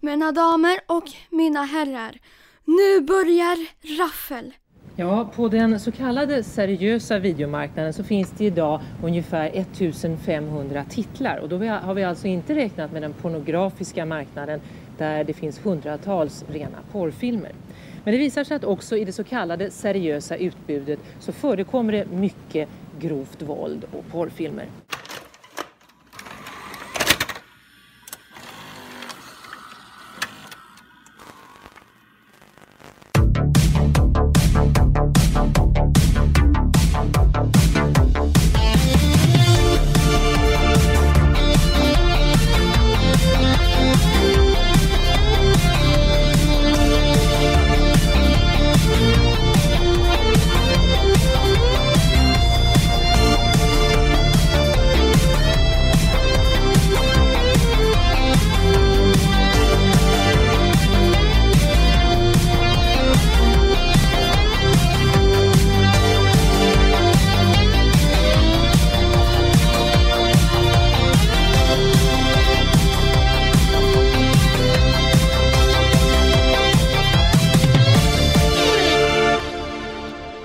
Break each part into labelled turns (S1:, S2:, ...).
S1: Mina damer och mina herrar, nu börjar raffel.
S2: Ja, på den så kallade seriösa videomarknaden så finns det idag ungefär 1500 titlar och då har vi alltså inte räknat med den pornografiska marknaden där det finns hundratals rena porrfilmer. Men det visar sig att också i det så kallade seriösa utbudet så förekommer det mycket grovt våld och porrfilmer.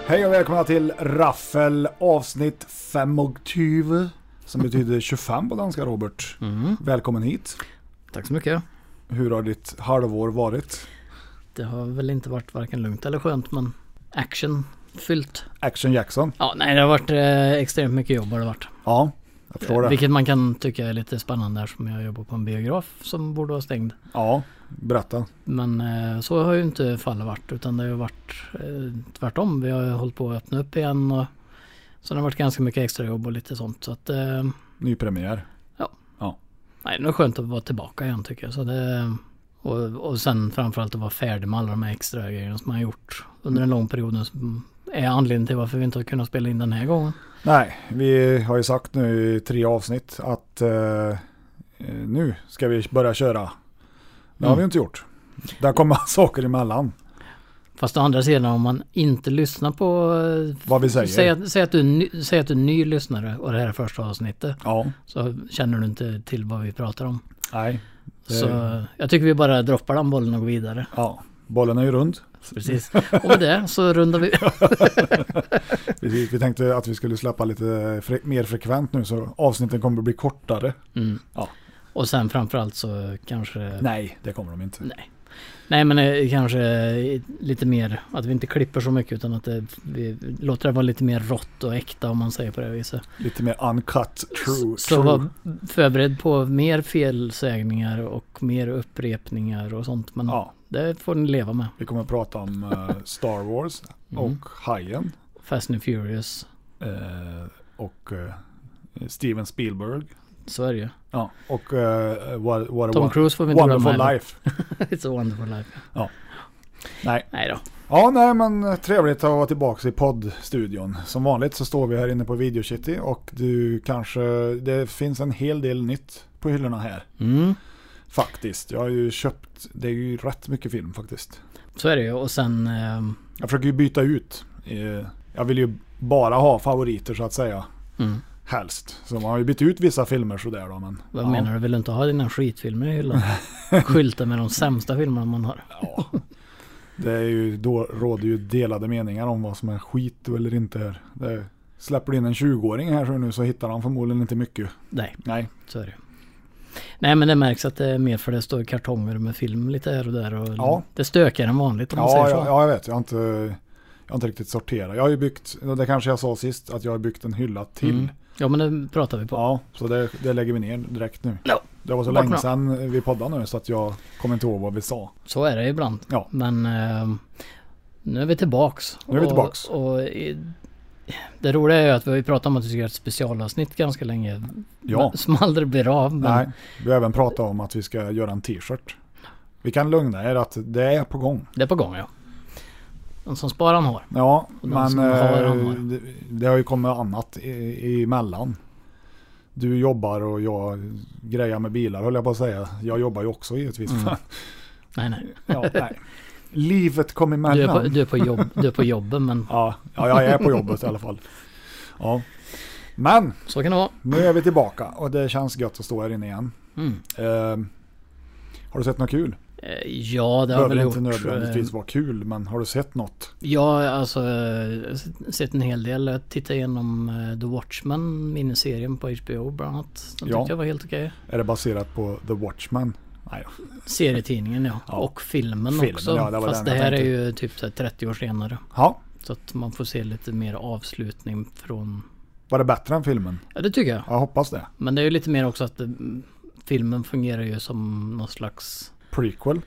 S3: Hej och välkomna till Raffel avsnitt 25 som betyder 25 på danska Robert.
S4: Mm.
S3: Välkommen hit.
S4: Tack så mycket.
S3: Hur har ditt halvår varit?
S4: Det har väl inte varit varken lugnt eller skönt men action fyllt.
S3: Action Jackson.
S4: Ja, nej det har varit eh, extremt mycket jobb har det varit.
S3: Ja, jag förstår det.
S4: Vilket man kan tycka är lite spännande här som jag jobbar på en biograf som borde vara stängd.
S3: Ja, berätta.
S4: Men eh, så har ju inte fallet varit utan det har ju varit eh, tvärtom. Vi har ju hållit på att öppna upp igen och så det har varit ganska mycket extra jobb och lite sånt. Så att, eh,
S3: Ny premiär.
S4: nej, det är skönt att vara tillbaka igen tycker jag. Så det, och, och sen framförallt att vara färdig med alla de här extra grejerna som man har gjort under den lång perioden. Som är anledningen till varför vi inte har kunnat spela in den här gången.
S3: Nej, vi har ju sagt nu i tre avsnitt att eh, eh, nu ska vi börja köra. Det har
S4: Mm.
S3: vi inte gjort. Där kommer saker emellan.
S4: Fast å andra sidan om man inte lyssnar på... eh,
S3: Vad vi säger.
S4: Säg att, säg, att du, är ny- säg att du är ny lyssnare och det här är första avsnittet.
S3: Ja,
S4: Så känner du inte till vad vi pratar om.
S3: nej. Det-
S4: Så jag tycker vi bara droppar den bollen och går vidare.
S3: Ja, bollen är ju rund.
S4: Precis. Och med det så rundar vi...
S3: Vi, vi tänkte att vi skulle släppa lite fre mer frekvent nu så avsnitten kommer att bli kortare.
S4: Mm.
S3: Ja.
S4: Och sen framförallt så kanske...
S3: Nej, det kommer de inte.
S4: Nej. Nej men eh, kanske eh, lite mer att vi inte klipper så mycket utan att det, vi låter det vara lite mer rått och äkta om man säger på det viset.
S3: Lite mer uncut true.
S4: Så
S3: true.
S4: var förberedd på mer felsägningar och mer upprepningar och sånt. Men
S3: Ja,
S4: det får ni leva med.
S3: vi kommer att prata om eh, Star Wars
S4: Mm.
S3: och Hajen.
S4: Fast and Furious.
S3: eh, och eh, Steven Spielberg.
S4: Så är det ju.
S3: Ja, och eh, what, what a
S4: Tom
S3: won-
S4: Cruise får vi inte glömma.
S3: wonderful
S4: heller.
S3: life.
S4: It's a wonderful life.
S3: Nej.
S4: Nej då.
S3: Ja, nej men trevligt att vara tillbaka i poddstudion. Som vanligt så står vi här inne på Video City och du kanske, det finns en hel del nytt på hyllorna här.
S4: Mm.
S3: Faktiskt. Jag har ju köpt, det är ju rätt mycket film faktiskt.
S4: Så är det ju. Och sen... ehm,
S3: Jag försöker ju byta ut. eh, Jag vill ju bara ha favoriter så att säga.
S4: mm.
S3: Helst. Så man har ju bytt ut vissa filmer sådär då men.
S4: Vad
S3: ja.
S4: menar du? Vill du inte ha dina skitfilmer i hyllan? Skylta med de sämsta filmerna man har.
S3: Ja. Det är ju, då råder ju delade meningar om vad som är skit eller inte här. Det, släpper du in en 20-åring här så nu så hittar han förmodligen inte mycket.
S4: Nej,
S3: Nej.
S4: så är det ju. Nej men det märks att det är mer för det står kartonger med film lite här och där och
S3: Ja.
S4: det stökar än vanligt om man
S3: Ja,
S4: säger
S3: ja,
S4: så.
S3: ja, jag vet. Jag har inte, jag har inte riktigt sorterat. Jag har ju byggt, det kanske jag sa sist, att jag har byggt en hylla till.
S4: Mm. Ja men det pratar vi på.
S3: Ja, så det, det lägger vi ner direkt nu.
S4: Ja.
S3: Det var så
S4: Bort
S3: länge
S4: med
S3: sedan vi poddade nu så att jag kommer inte ihåg vad vi sa.
S4: Så är det ibland.
S3: Ja.
S4: Men eh, nu är vi tillbaks.
S3: Nu är vi
S4: Och-
S3: tillbaks.
S4: Och, i- det roliga är ju att vi har ju pratat om att vi ska göra ett specialavsnitt ganska länge.
S3: Ja,
S4: men- Som aldrig blir av. Men
S3: nej. Vi har även pratat om att vi ska göra en t-shirt. Vi kan lugna er att det är på gång.
S4: det är på gång ja. Den som sparar han har.
S3: Ja,
S4: Och de
S3: men
S4: som har,
S3: eh,
S4: de har.
S3: det, det har ju kommit annat i- emellan. Du jobbar och jag grejar med bilar höll jag på att säga. Jag jobbar ju också givetvis.
S4: Mm. Nej nej.
S3: ja, nej. Livet kom
S4: Du är, på,
S3: emellan.
S4: du, är på jobb, du är på jobben men
S3: Ja, ja, jag är på jobbet i alla fall. Ja. Men
S4: så kan det vara.
S3: Nu är vi tillbaka och det känns gött att stå här inne igen.
S4: Mm.
S3: Eh, Ehm, har Har du sett något kul?
S4: Eh, Ja, det
S3: Det
S4: har jag
S3: behöver
S4: väl
S3: inte
S4: gjort. eh,
S3: nödvändigtvis vara kul, men har du sett något?
S4: Ja, alltså eh, s- sett en hel del. Jag tittade igenom eh, The Watchmen, miniserien på HBO bland annat. Den
S3: Ja.
S4: tyckte jag var helt okej.
S3: Är det baserat på The Watchman? Nej,
S4: Serietidningen ja.
S3: Ja.
S4: Och filmen,
S3: Filmen,
S4: också.
S3: ja, det var
S4: Fast det
S3: den jag
S4: här är
S3: tänkte.
S4: ju typ så här 30 år senare.
S3: ja.
S4: Så att man får se lite mer avslutning från...
S3: Var det bättre än filmen?
S4: Ja, det tycker jag.
S3: Jag hoppas det.
S4: Men det är ju lite mer också att eh, filmen fungerar ju som någon slags...
S3: Prequel?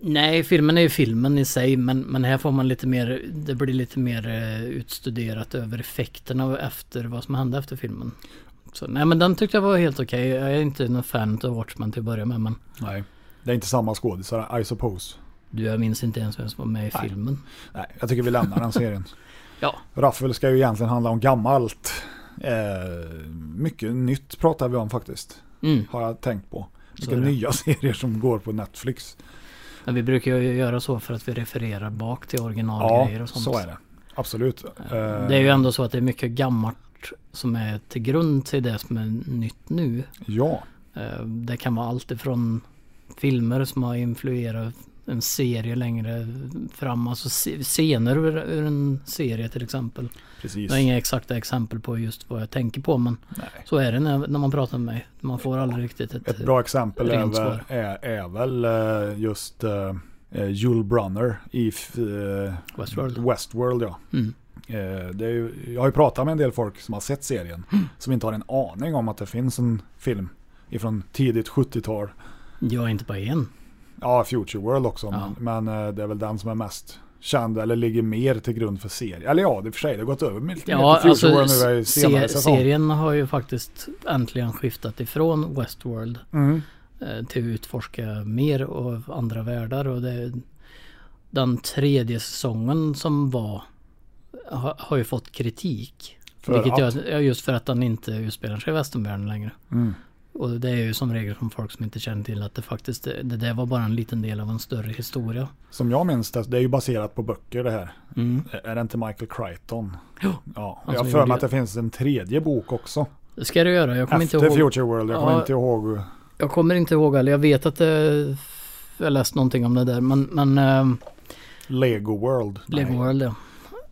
S4: Nej, filmen är ju filmen i sig. Men, men här får man lite mer... Det blir lite mer eh, utstuderat över effekterna efter vad som hände efter filmen. Så, nej men den tyckte jag var helt okej. Jag är inte någon fan av Watchmen till att börja med men...
S3: Nej. Det är inte samma skådisar, I suppose.
S4: Du, jag minns inte ens vem som var med i
S3: Nej.
S4: filmen.
S3: Nej, jag tycker vi lämnar den serien.
S4: Ja.
S3: Raffel ska ju egentligen handla om gammalt. Eh, mycket nytt pratar vi om faktiskt.
S4: Mm.
S3: Har jag tänkt på.
S4: Så
S3: Vilka
S4: är det.
S3: nya serier som går på Netflix.
S4: Men vi brukar ju göra så för att vi refererar bak till originalgrejer och sånt.
S3: så är det. Absolut. Eh,
S4: Det är ju ändå så att det är mycket gammalt som är till grund till det som är nytt nu.
S3: Ja,
S4: Eh, Det kan vara allt ifrån filmer som har influerat en serie längre fram, alltså se- scener ur ur en serie till exempel.
S3: precis.
S4: Jag har inga exakta exempel på just vad jag tänker på men
S3: Nej.
S4: så är det när, när man pratar med mig. Man får aldrig riktigt ett...
S3: Ett bra exempel är,
S4: Rent
S3: väl-
S4: svar.
S3: är, är väl eh, just eh, eh, Jule Brunner i f- eh,
S4: Westworld.
S3: Westworld ja.
S4: Mm.
S3: Eh, det är ju, jag har ju pratat med en del folk som har sett serien
S4: Mm.
S3: som inte har en aning om att det finns en film ifrån tidigt 70-tal.
S4: Jag är inte bara en.
S3: Ja, Future World också,
S4: Ja.
S3: men, men eh, det är väl den som är mest känd eller ligger mer till grund för serien. Eller ja, det är för sig, det har gått över lite mer
S4: Ja,
S3: till Future
S4: alltså
S3: World nu i senare
S4: se,
S3: säsong.
S4: serien har ju faktiskt äntligen skiftat ifrån Westworld
S3: Mm.
S4: eh, till att utforska mer och andra världar. Och det, den tredje säsongen som var har, har ju fått kritik.
S3: För
S4: vilket
S3: att?
S4: gör- ja, just för att den inte utspelar sig i västernvärlden längre.
S3: Mm.
S4: Och det är ju som regel från folk som inte känner till att det faktiskt det, det där var bara en liten del av en större historia.
S3: Som jag minns det, det är ju baserat på böcker det här.
S4: Mm.
S3: Är det inte Michael Crichton?
S4: Jo,
S3: Ja,
S4: han
S3: jag har för mig
S4: som Alltså, gjorde-
S3: att det finns en tredje bok också.
S4: Det ska du göra. Jag kommer inte
S3: Efter
S4: ihåg.
S3: Future World, jag kommer
S4: Ja.
S3: inte ihåg.
S4: Jag kommer inte ihåg eller jag vet att det, jag läst någonting om det där men, men eh,
S3: Lego World.
S4: Lego
S3: Nej.
S4: World ja.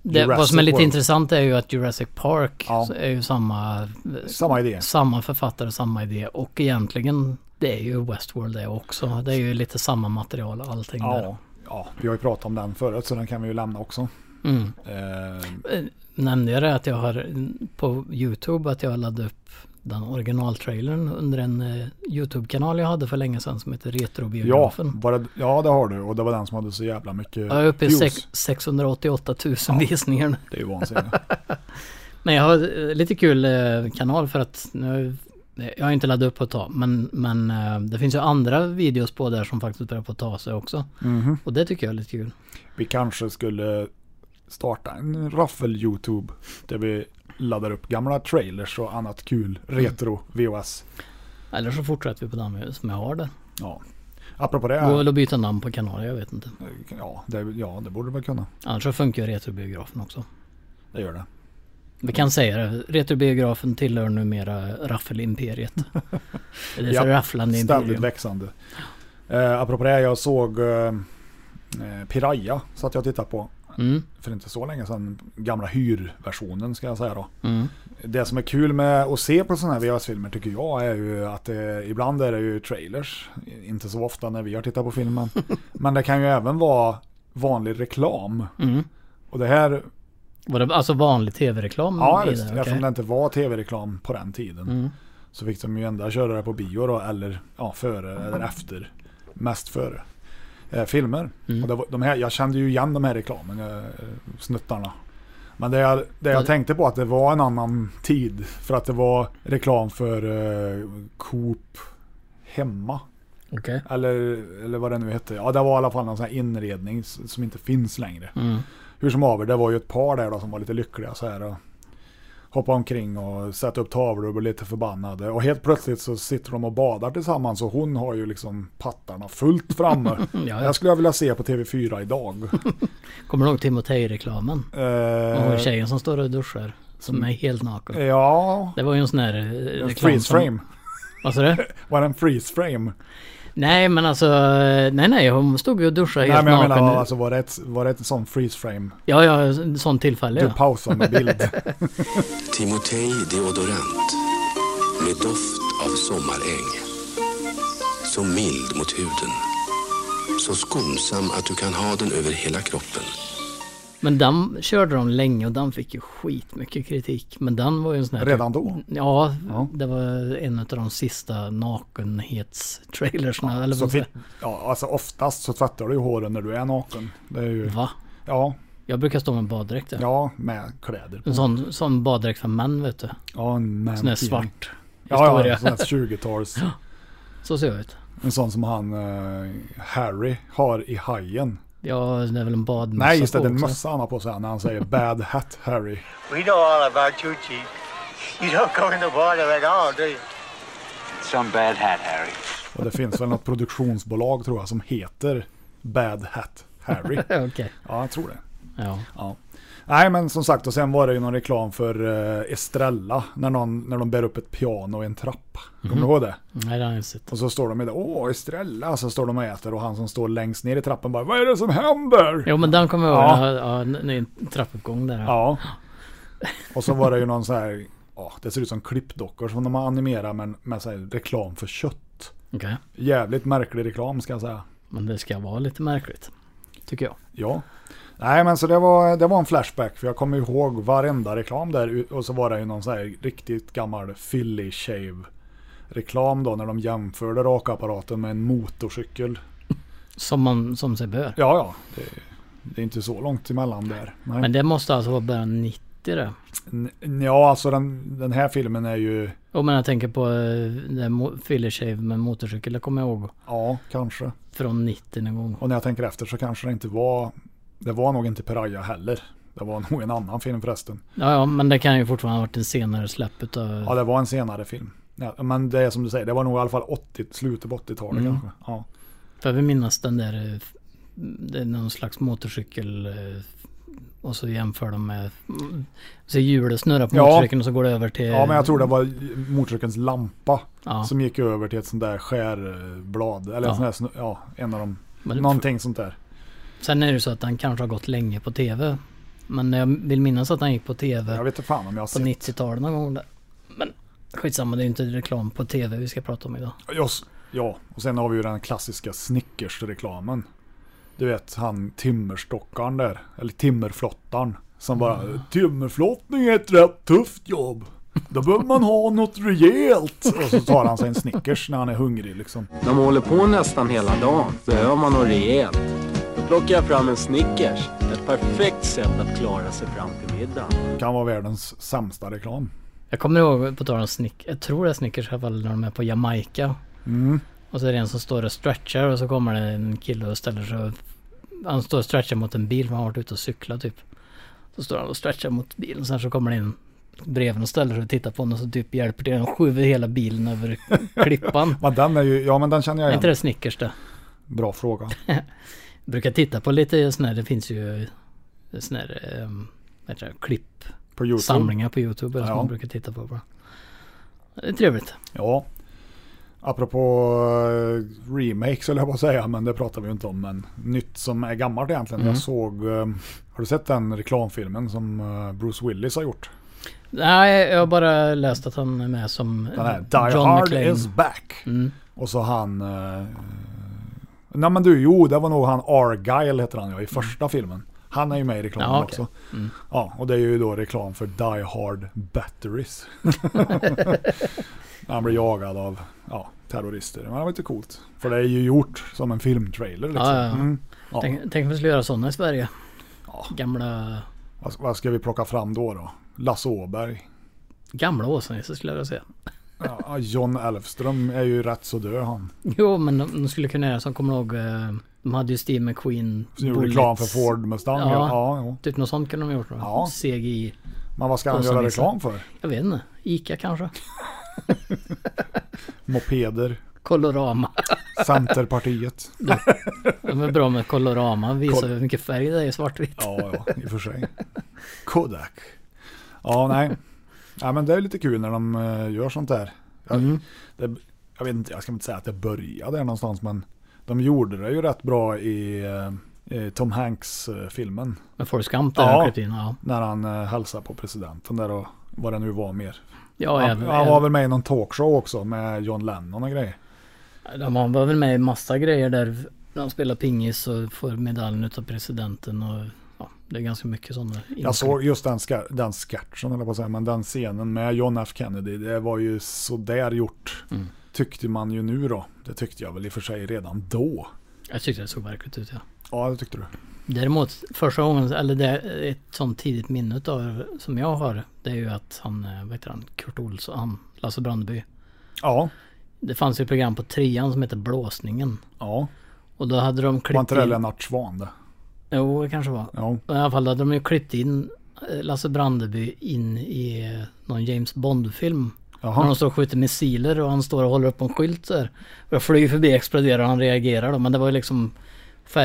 S4: Det,
S3: Jurassic
S4: vad som är lite
S3: World.
S4: intressant är ju att Jurassic Park
S3: Ja.
S4: så är ju samma,
S3: Samma idé.
S4: samma författare, samma idé och egentligen det är ju Westworld det också. Det är ju lite samma material och allting
S3: Ja,
S4: där.
S3: ja, vi har ju pratat om den förut så den kan vi ju lämna också.
S4: Mm.
S3: Eh,
S4: Eh, Nämnde jag det att jag har mm, på Youtube att jag laddade upp den originaltrailern under en eh, Youtube-kanal jag hade för länge sedan som heter
S3: ja,
S4: Retrobiografen.
S3: var det, ja, det har du och det var den som hade så jävla mycket
S4: Jag är uppe i
S3: views.
S4: sex- 688 000 visningar nu.
S3: Det är ju vansinnigt.
S4: Men jag har eh, lite kul eh, kanal för att nu, jag har inte laddat upp på ett tag. Men, men eh, det finns ju andra videos på där som faktiskt börjar på att ta sig också.
S3: Mhm.
S4: Och det tycker jag är lite kul.
S3: Vi kanske skulle starta en raffel YouTube där vi laddar upp gamla trailers och annat kul retro VHS.
S4: Eller så fortsätter vi på den som jag har där.
S3: Ja. Apropå det,
S4: Går väl att byta namn på kanalen, jag vet inte.
S3: ja, det, ja det borde du väl kunna.
S4: Annars så funkar ju Retrobiografen också.
S3: Det gör det.
S4: Vi kan säga det, Retrobiografen tillhör numera Raffelimperiet. Eller
S3: Ja,
S4: ja, rafflande
S3: Ständigt
S4: imperium.
S3: växande. Eh, apropå det, jag såg eh, eh, Piraya satt jag och tittade på
S4: Mm,
S3: för inte så länge sedan. Gamla hyrversionen ska jag säga då.
S4: mm.
S3: Det som är kul med att se på sådana här VHS-filmer tycker jag är ju att det, ibland är det ju trailers. Inte så ofta när vi har tittat på filmen. Men det kan ju även vara vanlig reklam.
S4: Mm.
S3: Och det här,
S4: Var det alltså vanlig tv-reklam?
S3: ja
S4: i
S3: just,
S4: det?
S3: eftersom
S4: Okej. Mm.
S3: det inte var tv-reklam på den tiden. Så fick de ju ändå köra det på bio då, eller ja, före eller efter. Mest före. Eh, filmer.
S4: Mm.
S3: Och det var, de här, jag kände ju igen de här reklamen, eh, snuttarna. Men det jag, det jag
S4: Ja.
S3: tänkte på att det var en annan tid. För att det var reklam för eh, Coop hemma.
S4: Okej.
S3: Eller, eller vad det nu hette. Ja, det var i alla fall någon sån här inredning s- som inte finns längre.
S4: Mm.
S3: Hur som haver, det var ju ett par där då som var lite lyckliga så här. Och hoppade omkring och satte upp tavlor och blev lite förbannade. Och helt plötsligt så sitter de och badar tillsammans och hon har ju liksom pattarna fullt framme.
S4: ja.
S3: Det skulle jag vilja se på TV4 idag.
S4: Kommer du ihåg Timotej-reklamen?
S3: Eh,
S4: Och tjejen som står och duschar. Som är helt naken.
S3: ja,
S4: Det var ju en sån här eh,
S3: en
S4: reklam
S3: freeze
S4: som-
S3: frame.
S4: Vad sa du?
S3: Var det en freeze frame?
S4: Nej men alltså, nej nej hon stod ju och duschade
S3: Nej
S4: helt
S3: men jag
S4: naken.
S3: menar alltså var det ett, var det ett sån freeze frame?
S4: Ja ja, sånt tillfälle
S3: Du
S4: ja.
S3: pausar med bild.
S5: Timotej Deodorant med doft av sommaräng. Så mild mot huden. Så skonsam att du kan ha den över hela kroppen.
S4: Men den körde de länge och den fick ju skitmycket kritik. Men den var ju en sån här...
S3: Redan då?
S4: Ja,
S3: Ja.
S4: det var en av de sista nakenhetstrailersna. eller
S3: Så
S4: vad
S3: tvätt,
S4: säger
S3: ja, alltså oftast så tvättar du ju håren när du är naken. Det är ju,
S4: Va?
S3: ja,
S4: Jag brukar stå med baddräkt där.
S3: ja, med kläder på.
S4: En sån, sån baddräkt för män vet du.
S3: Ja, en man
S4: Sån där
S3: tidning.
S4: svart
S3: Ja, ja,
S4: historia.
S3: sån här 20-tals.
S4: Så ser jag ut.
S3: En sån som han eh, Harry har i Hajen.
S4: Ja, det är väl en badmössa
S3: Nej, just det,
S4: på
S3: det är en
S4: också.
S3: mössa han har på sig här när han säger Bad Hat Harry.
S6: We know all about you, Chief. You don't go in the water at all, do you?
S7: Some bad hat, Harry.
S3: Och det finns väl något produktionsbolag tror jag som heter Bad Hat Harry.
S4: Okej.
S3: Ja, jag tror det.
S4: Ja.
S3: Ja. Nej men som sagt, och sen var det ju någon reklam för eh, Estrella när, någon, när de bär upp ett piano i en trappa. Kommer
S4: Mhm.
S3: du ihåg det?
S4: Nej, det har jag inte sett.
S3: Och så står de i det, åh Estrella, så står de och äter och han som står längst ner i trappen bara, vad är det som händer?
S4: Jo, men den kommer jag ihåg.
S3: Ja.
S4: Ja. Ja, en- en trappuppgång där.
S3: Ja. Och så var det ju någon så här, ja det ser ut som klippdockor som de har animerat men med så här reklam för kött.
S4: Okej.
S3: Jävligt märklig reklam ska jag säga.
S4: Men det ska vara lite märkligt. Tycker jag.
S3: Ja. Nej men så det var, det var en flashback för jag kommer ihåg varenda reklam där och så var det ju någon så här riktigt gammal Philly shave reklam då när de jämförde rakapparaten med en motorcykel.
S4: Som man som sig bör.
S3: Ja ja, det, det är inte så långt emellan där. Nej.
S4: Men det måste alltså vara början 90 det.
S3: N- Ja alltså den, den här filmen är ju,
S4: Och men jag tänker på eh, den mo- Filler Shave med motorcykel. Det kommer jag ihåg.
S3: ja kanske.
S4: Från 90 någon gång.
S3: Och när jag tänker efter så kanske det inte var, det var nog inte Peraja heller. Det var nog en annan film förresten.
S4: Ja, ja, men det kan ju fortfarande ha varit en senare släpp utav...
S3: Ja, det var en senare film. Ja, men det är som du säger, det var nog i alla fall 80, slutet på 80-talet
S4: Mm.
S3: kanske. Ja.
S4: För vi minnas den där... eh, f- Det är någon slags motorcykel... eh, Och så jämför de med... Så hjulet snurrar på
S3: Ja.
S4: motorcykeln och så går det över till...
S3: ja, men jag tror det var motorcykelns lampa
S4: Ja,
S3: som gick över till ett sånt där skärblad. Eller
S4: Ja.
S3: en sån där, snu- ja, en av dem.
S4: men
S3: Någonting sånt där.
S4: Sen är det ju så att den kanske har gått länge på tv. Men jag vill minnas att den gick på tv
S3: Jag vet inte fan om jag har
S4: på
S3: sett.
S4: 90-talet någon gång där. Men skitsamma, det är ju inte reklam på tv vi ska prata om idag.
S3: Just, ja, och sen har vi ju den klassiska Snickers-reklamen. Du vet han timmerstockaren där, eller timmerflottaren. Som bara, timmerflottning är ett rätt tufft jobb. Då behöver man ha något rejält. Och så tar han sig en Snickers när han är hungrig liksom.
S8: De håller på nästan hela dagen. Behöver man något rejält? Då plockar jag fram en Snickers. Ett perfekt sätt att klara sig fram till middagen.
S3: Kan vara världens sämsta reklam.
S4: Jag kommer ihåg, på tal om Snickers, jag tror det är Snickers i alla fall, när de är på Jamaica. Och så är det en som står och stretchar och så kommer det en kille och ställer sig och... Han står och stretchar mot en bil, för han har varit ute och cyklat typ. Så står han och stretchar mot bilen, sen så kommer det in bredvid och ställer sig och tittar på honom och så typ hjälper till. Han skjuter hela bilen över klippan.
S3: Men den är ju, ja men den känner
S4: Är
S3: jag
S4: inte
S3: igen.
S4: det Snickers det?
S3: Bra fråga.
S4: Brukar titta på lite sån här, det finns ju sån här, um, vad heter det, klipp,
S3: På Youtube.
S4: samlingar på Youtube eller som
S3: Ja.
S4: man brukar titta på. Bra. Det är trevligt.
S3: Ja. Apropå eh, remakes eller jag på att säga, men det pratar vi ju inte om. Men nytt som är gammalt egentligen. Jag såg, eh, har du sett den reklamfilmen som eh, Bruce Willis har gjort?
S4: Nej, jag har bara läst att han är med som
S3: Den här
S4: eh,
S3: Die Hard is back.
S4: Mm.
S3: Och så han... eh, nej men du, jo det var nog han Argyle heter han ja, i första filmen. Han är ju med i reklamen
S4: Mm. Ja, okej. Mm.
S3: också. Ja, och det är ju då reklam för Die Hard Batteries. han blir jagad av ja, terrorister. Men det var lite coolt. För det är ju gjort som en filmtrailer. Liksom.
S4: Ja, ja, ja.
S3: Mm. Ja.
S4: Tänk, tänk om vi skulle göra sådana i Sverige. Gamla,
S3: Vad, vad ska vi plocka fram då? då? Lasse Åberg.
S4: gamla Åsnisse skulle jag vilja säga.
S3: Ja, John Elfström är ju rätt så död han.
S4: Jo, men de, de skulle kunna göra som kommer ihåg, eh, de hade ju Steve McQueen.
S3: Som gjorde
S4: Bullets.
S3: reklam för Ford Mustang. Ja.
S4: Ja.
S3: Ja, jo.
S4: Typ något sånt kunde de ha gjort.
S3: Ja.
S4: Ja. CGI.
S3: Men vad ska han
S4: Och sen
S3: göra
S4: Nisse.
S3: reklam för?
S4: Jag vet inte. Ica kanske?
S3: Mopeder.
S4: Colorama.
S3: Centerpartiet.
S4: De är bra med kolorama, visar
S3: Kol-
S4: hur mycket färg det är i svartvitt.
S3: Ja, ja, i och för sig. Kodak. Ja, nej. Ja, men det är lite kul när de eh, gör sånt där. Ja,
S4: Mm.
S3: det, jag, vet inte, jag ska inte säga att det började där någonstans men de gjorde det ju rätt bra i, eh, i Tom Hanks-filmen.
S4: Men Forrest Gump där
S3: Ja.
S4: han klippte in. Ja,
S3: När han eh, hälsade på presidenten där och vad det nu var mer.
S4: ja
S3: han,
S4: även,
S3: han var väl med i någon talkshow också med John Lennon och grejer.
S4: de han var väl med i massa grejer där. När de spelar pingis och får medaljen utav presidenten och ja, det är ganska mycket sådana.
S3: Jag såg just den, ska, den sketchen, eller på att säga, men den scenen med John F Kennedy, det var ju sådär gjort. Tyckte man ju nu då. Det tyckte jag väl i och för sig redan då.
S4: Jag tyckte det såg verkligt ut ja.
S3: Ja, det tyckte du.
S4: Däremot första gången, eller det ett sånt tidigt minne utav som jag har. Det är ju att han, eh, vad heter han, Kurt Olsson, han, Lasse Brandeby.
S3: Ja,
S4: Det fanns ju ett program på trean som heter Blåsningen.
S3: ja.
S4: Och då hade de
S3: Var
S4: klippt
S3: inte det
S4: in...
S3: Lennart Swahn det?
S4: Jo, det kanske var.
S3: Ja.
S4: I alla fall hade de ju klippt in eh, Lasse Brandeby in i eh, någon James Bond-film. När
S3: Jaha.
S4: de står och skjuter missiler och han står och håller upp en skylt där. Och jag flyger förbi, exploderar och han reagerar då. Men det var ju liksom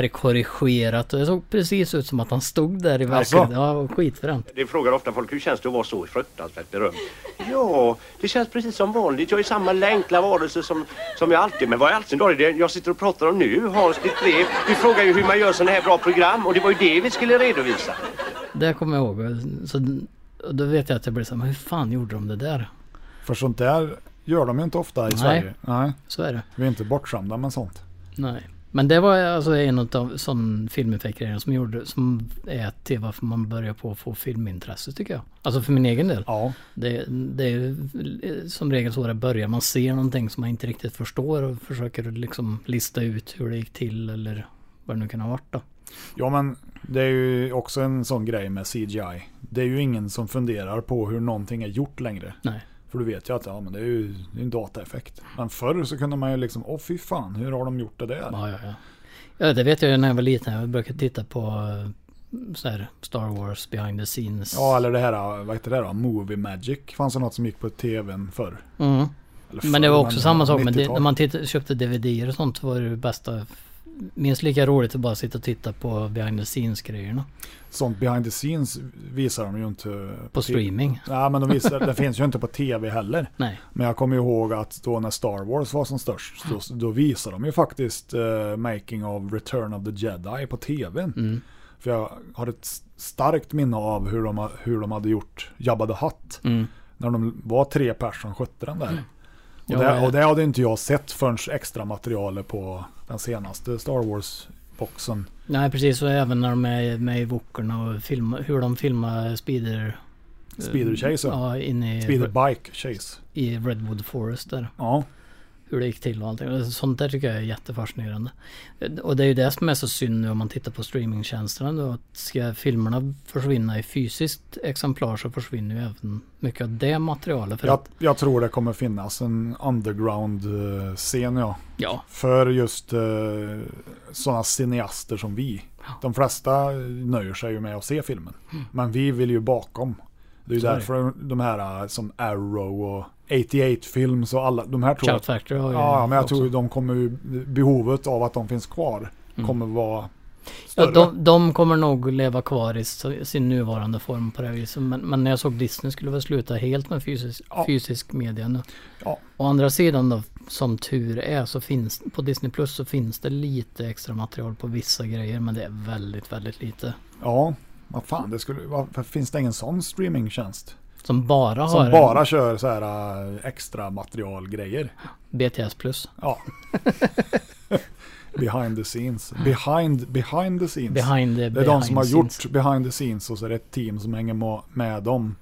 S4: färgkorrigerat och det såg precis ut som att han stod där i
S3: Alltså?
S4: verkligheten. Ja, och skitfränt.
S7: Det frågar ofta folk hur känns det att vara så fruktansvärt berömd? Ja, det känns precis som vanligt. Jag är samma länkla varelse som, som jag alltid. Men vad i all sin dar är det jag sitter och pratar om nu, Hans, ditt brev? Du frågar ju hur man gör sådana här bra program och det var ju det vi skulle redovisa.
S4: Det kommer jag ihåg. Så och då vet jag att jag blev så här, men hur fan gjorde de det där?
S3: För sånt där gör de ju inte ofta i
S4: Nej.
S3: Sverige. Nej.
S4: Så är det.
S3: Vi är inte bortskämda med sånt.
S4: Nej. Men det var alltså en av sån filmeffektgrejerna som gjorde, som är till varför man börjar på att få filmintresse tycker jag. Alltså för min egen del.
S3: Ja,
S4: Det, det är ju som regel så det börjar. Man ser någonting som man inte riktigt förstår och försöker liksom lista ut hur det gick till eller vad det nu kan ha varit då.
S3: ja men det är ju också en sån grej med CGI. Det är ju ingen som funderar på hur någonting är gjort längre.
S4: Nej.
S3: För du vet ju att ja, men det är ju det är en dataeffekt. Men förr så kunde man ju liksom, åh fy fan, hur har de gjort det där?
S4: Ja, ja, ja. ja det vet jag ju när jag var liten. Jag brukade titta på eh, så här Star Wars behind the scenes.
S3: Ja, eller det här, vad heter det då? Movie Magic. Fanns det något som gick på tvn förr?
S4: Mm.
S3: Eller
S4: Men det
S3: förr,
S4: var också samma sak. Men det,
S3: 90-tal.
S4: när man tittade, köpte DVD och sånt så var det det bästa. Minst lika roligt att bara sitta och titta på behind the scenes grejerna.
S3: Sånt behind the scenes visar de ju inte.
S4: På streaming.
S3: Nej, men de visar, det finns ju inte på tv heller.
S4: Nej.
S3: Men jag kommer ju ihåg att då när Star Wars var som störst, då, då visade de ju faktiskt eh, Making of Return of the Jedi på tvn. För jag har ett s- starkt minne av hur de, ha- hur de hade gjort Jabba the Hutt. När de var tre personer som skötte den där. Och,
S4: Ja,
S3: det,
S4: ja.
S3: och det hade inte jag sett förrän extra materialet på den senaste Star Wars-boxen.
S4: Nej precis, och även när de är med i Wokerna och filmar, hur de filmar Speeder.
S3: Speeder Chase, ja.
S4: Ja, inne i,
S3: Speeder Bike Chase.
S4: i Redwood Forest där.
S3: Ja,
S4: Hur det gick till och allting. Och Sånt där tycker jag är jättefascinerande. Och det är ju det som är så synd nu om man tittar på streamingtjänsterna då. Att ska filmerna försvinna i fysiskt exemplar så försvinner ju även mycket av det materialet. För
S3: jag,
S4: att,
S3: jag tror det kommer finnas en underground-scen, ja.
S4: ja,
S3: För just uh, sådana cineaster som vi. De flesta nöjer sig ju med att se filmen. Men vi vill ju bakom. Det är ju
S4: Mm. är det.
S3: därför de här eh, som Arrow och 88-films och alla de här tror
S4: Shout
S3: jag,
S4: Factory har ju
S3: Ja, men jag
S4: också-
S3: tror ju de kommer ju- behovet av att de finns kvar kommer vara större.
S4: Mm. Ja, de, de kommer nog leva kvar i s- sin nuvarande form på det här viset. Men, men när jag såg Disney skulle väl sluta helt med fysisk,
S3: Ja.
S4: fysisk media nu.
S3: Ja.
S4: Å andra sidan då, som tur är, så finns på Disney Plus så finns det lite extra material på vissa grejer. Men det är väldigt, väldigt lite.
S3: ja, vad fan, det skulle, varför finns det ingen sån streamingtjänst?
S4: Som bara
S3: Som
S4: har
S3: bara kör så här eh, extra materialgrejer.
S4: BTS Plus.
S3: Ja. behind the scenes. Behind, behind the scenes.
S4: Behind the
S3: det är de som har
S4: behind scenes.
S3: gjort behind the scenes och så är det ett team som hänger ma- med dem.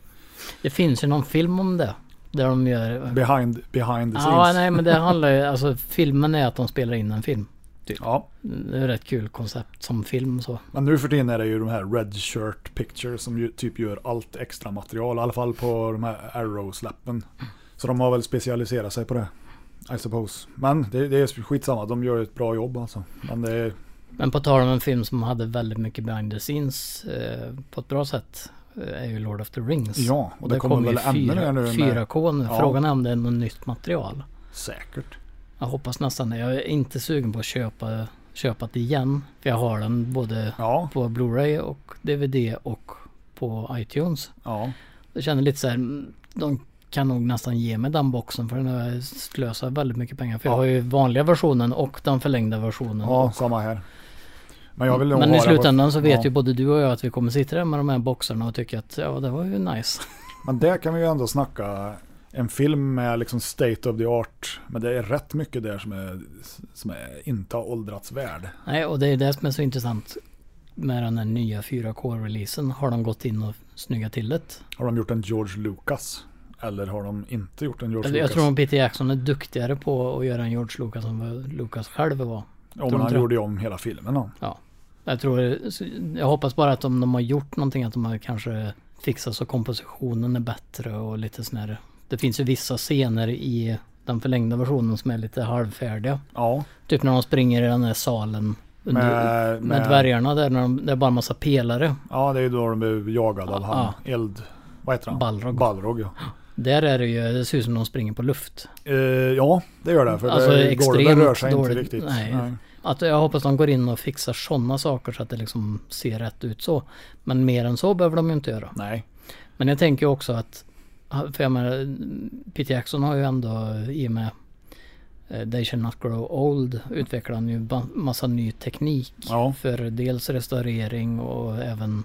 S4: Det finns ju någon film om det. Där de gör...
S3: Behind, behind the
S4: Ja,
S3: scenes.
S4: nej men det handlar ju... Alltså filmen är att de spelar in en film.
S3: Ja.
S4: Det är ett rätt kul koncept som film så.
S3: Men nu för tiden är det ju de här Red Shirt Pictures som ju typ gör allt extra material. I alla fall på de här Arrow-släppen. Så de har väl specialiserat sig på det. I suppose. Men det, det är skitsamma, de gör ett bra jobb alltså. Men det är,
S4: Men på tal om en film som hade väldigt mycket behind the scenes eh, på ett bra sätt eh, är ju Lord of the Rings.
S3: ja, och det,
S4: Där
S3: kommer
S4: kom ju
S3: väl ännu mer nu. med-
S4: 4K nu.
S3: Ja.
S4: Frågan är om det är något nytt material.
S3: Säkert.
S4: Jag hoppas nästan det. Jag är inte sugen på att köpa, köpa det igen. För jag har den både
S3: Ja,
S4: på Blu-ray och DVD och på iTunes.
S3: ja.
S4: Jag känner lite så här, mm, de kan nog nästan ge mig den boxen för den slösar väldigt mycket pengar. För jag har ju vanliga versionen och den förlängda versionen.
S3: Ja, samma här. Men jag vill nog
S4: Men
S3: ha
S4: i
S3: det på-
S4: slutändan så vet
S3: ja.
S4: ju både du och jag att vi kommer sitta där med de här boxarna och tycka att ja det var ju nice.
S3: Men där kan vi ju ändå snacka en film med liksom state of the art. Men det är rätt mycket där som, är, som är inte har åldrats värd.
S4: Nej och det är det som är så intressant med den här nya 4K-releasen. Har de gått in och snyggat till det?
S3: Har de gjort en George Lucas? Eller har de inte gjort en George
S4: Jag,
S3: Lucas?
S4: jag tror att Peter Jackson är duktigare på att göra en George Lucas än vad Lucas själv var.
S3: ja,
S4: tror
S3: men han
S4: inte det.
S3: gjorde ju om hela filmen. Han.
S4: Jag tror, jag hoppas bara att om de har gjort någonting att de har kanske fixat så kompositionen är bättre och lite snärre. Det finns ju vissa scener i den förlängda versionen som är lite halvfärdiga.
S3: Ja,
S4: Typ när de springer i den där salen under,
S3: med,
S4: med dvärgarna där, när de, det är bara en massa pelare.
S3: Ja, det är ju då de blev jagade av
S4: Ja,
S3: han. Eld... Vad heter han?
S4: Ah, Balrog.
S3: Balrog, ja.
S4: Där är det ju, det ser ut som de springer på luft.
S3: Eh, ja, det gör det. För
S4: Alltså,
S3: det, golvet
S4: extremt
S3: rör sig
S4: dåligt.
S3: inte riktigt.
S4: Nej. Att jag hoppas de går in och fixar sådana saker så att det liksom ser rätt ut så. Men mer än så behöver de ju inte göra.
S3: Nej.
S4: Men jag tänker också att, för jag menar, Peter Jackson har ju ändå i och med eh, They Shall Not Grow Old utvecklar han ju ba- massa ny teknik.
S3: Ja.
S4: För dels restaurering och även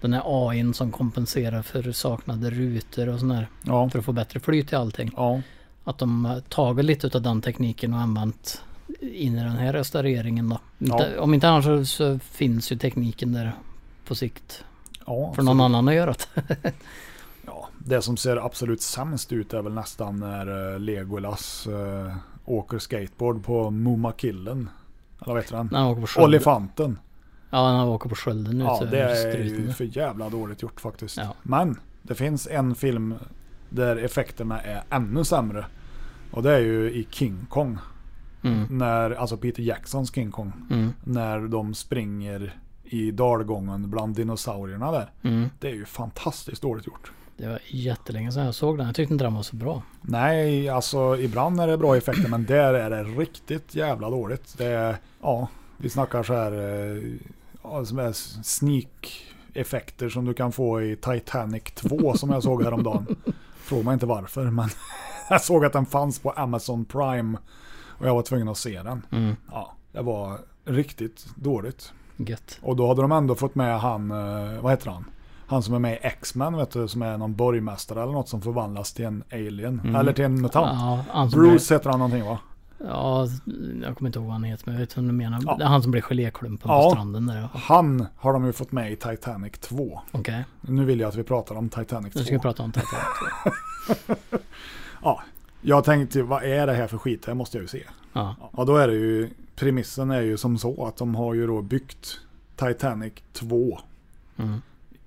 S4: den här AIn som kompenserar för saknade rutor och sådär.
S3: Ja.
S4: För att få bättre flyt i allting.
S3: Ja.
S4: Att de har tagit lite av den tekniken och använt in i den här restaureringen då. Inte, om inte annars så, så finns ju tekniken där på sikt.
S3: ja.
S4: För någon annan att göra det.
S3: Ja, det som ser absolut sämst ut är väl nästan när eh, Legolas eh, åker skateboard på Mumakillen. Eller vad heter han?
S4: När han åker på sjön.
S3: Olifanten.
S4: Ja, när han åker på skölden nu
S3: Ja,
S4: så
S3: det är
S4: struten.
S3: ju för jävla dåligt gjort faktiskt.
S4: Ja.
S3: Men det finns en film där effekterna är ännu sämre. Och det är ju i King Kong.
S4: Mm.
S3: När, alltså Peter Jacksons King Kong.
S4: Mm.
S3: När de springer i dalgången bland dinosaurierna där.
S4: Mm.
S3: Det är ju fantastiskt dåligt gjort.
S4: Det var jättelänge sedan jag såg den. Jag tyckte inte den var så bra.
S3: Nej, alltså ibland är det bra effekter men där är det riktigt jävla dåligt. Det är, ja, vi snackar så här, eh, ja, som är sneak effekter som du kan få i Titanic 2 som jag såg häromdagen. Fråga mig inte varför men jag såg att den fanns på Amazon Prime och jag var tvungen att se den. Ja, det var riktigt dåligt.
S4: Gött.
S3: Och då hade de ändå fått med han, eh, vad heter han? Han som är med i X-Men vet du, som är någon borgmästare eller något som förvandlas till en alien. Eller till en mutant.
S4: Mm. Ja, han som
S3: Bruce heter han någonting va?
S4: Blir, ja, jag kommer inte ihåg vad han heter men jag vet vem du menar.
S3: Ja.
S4: Det är han som blir geléklumpen
S3: Ja.
S4: på stranden där. ja.
S3: Han har de ju fått med i Titanic 2.
S4: Okej,
S3: Nu vill jag att vi pratar om Titanic 2.
S4: nu ska vi prata om Titanic.
S3: Ja, jag tänkte vad är det här för skit? Det här måste jag ju se.
S4: Ja.
S3: Ja, då är det ju, premissen är ju som så att de har ju då byggt Titanic 2.
S4: Mm.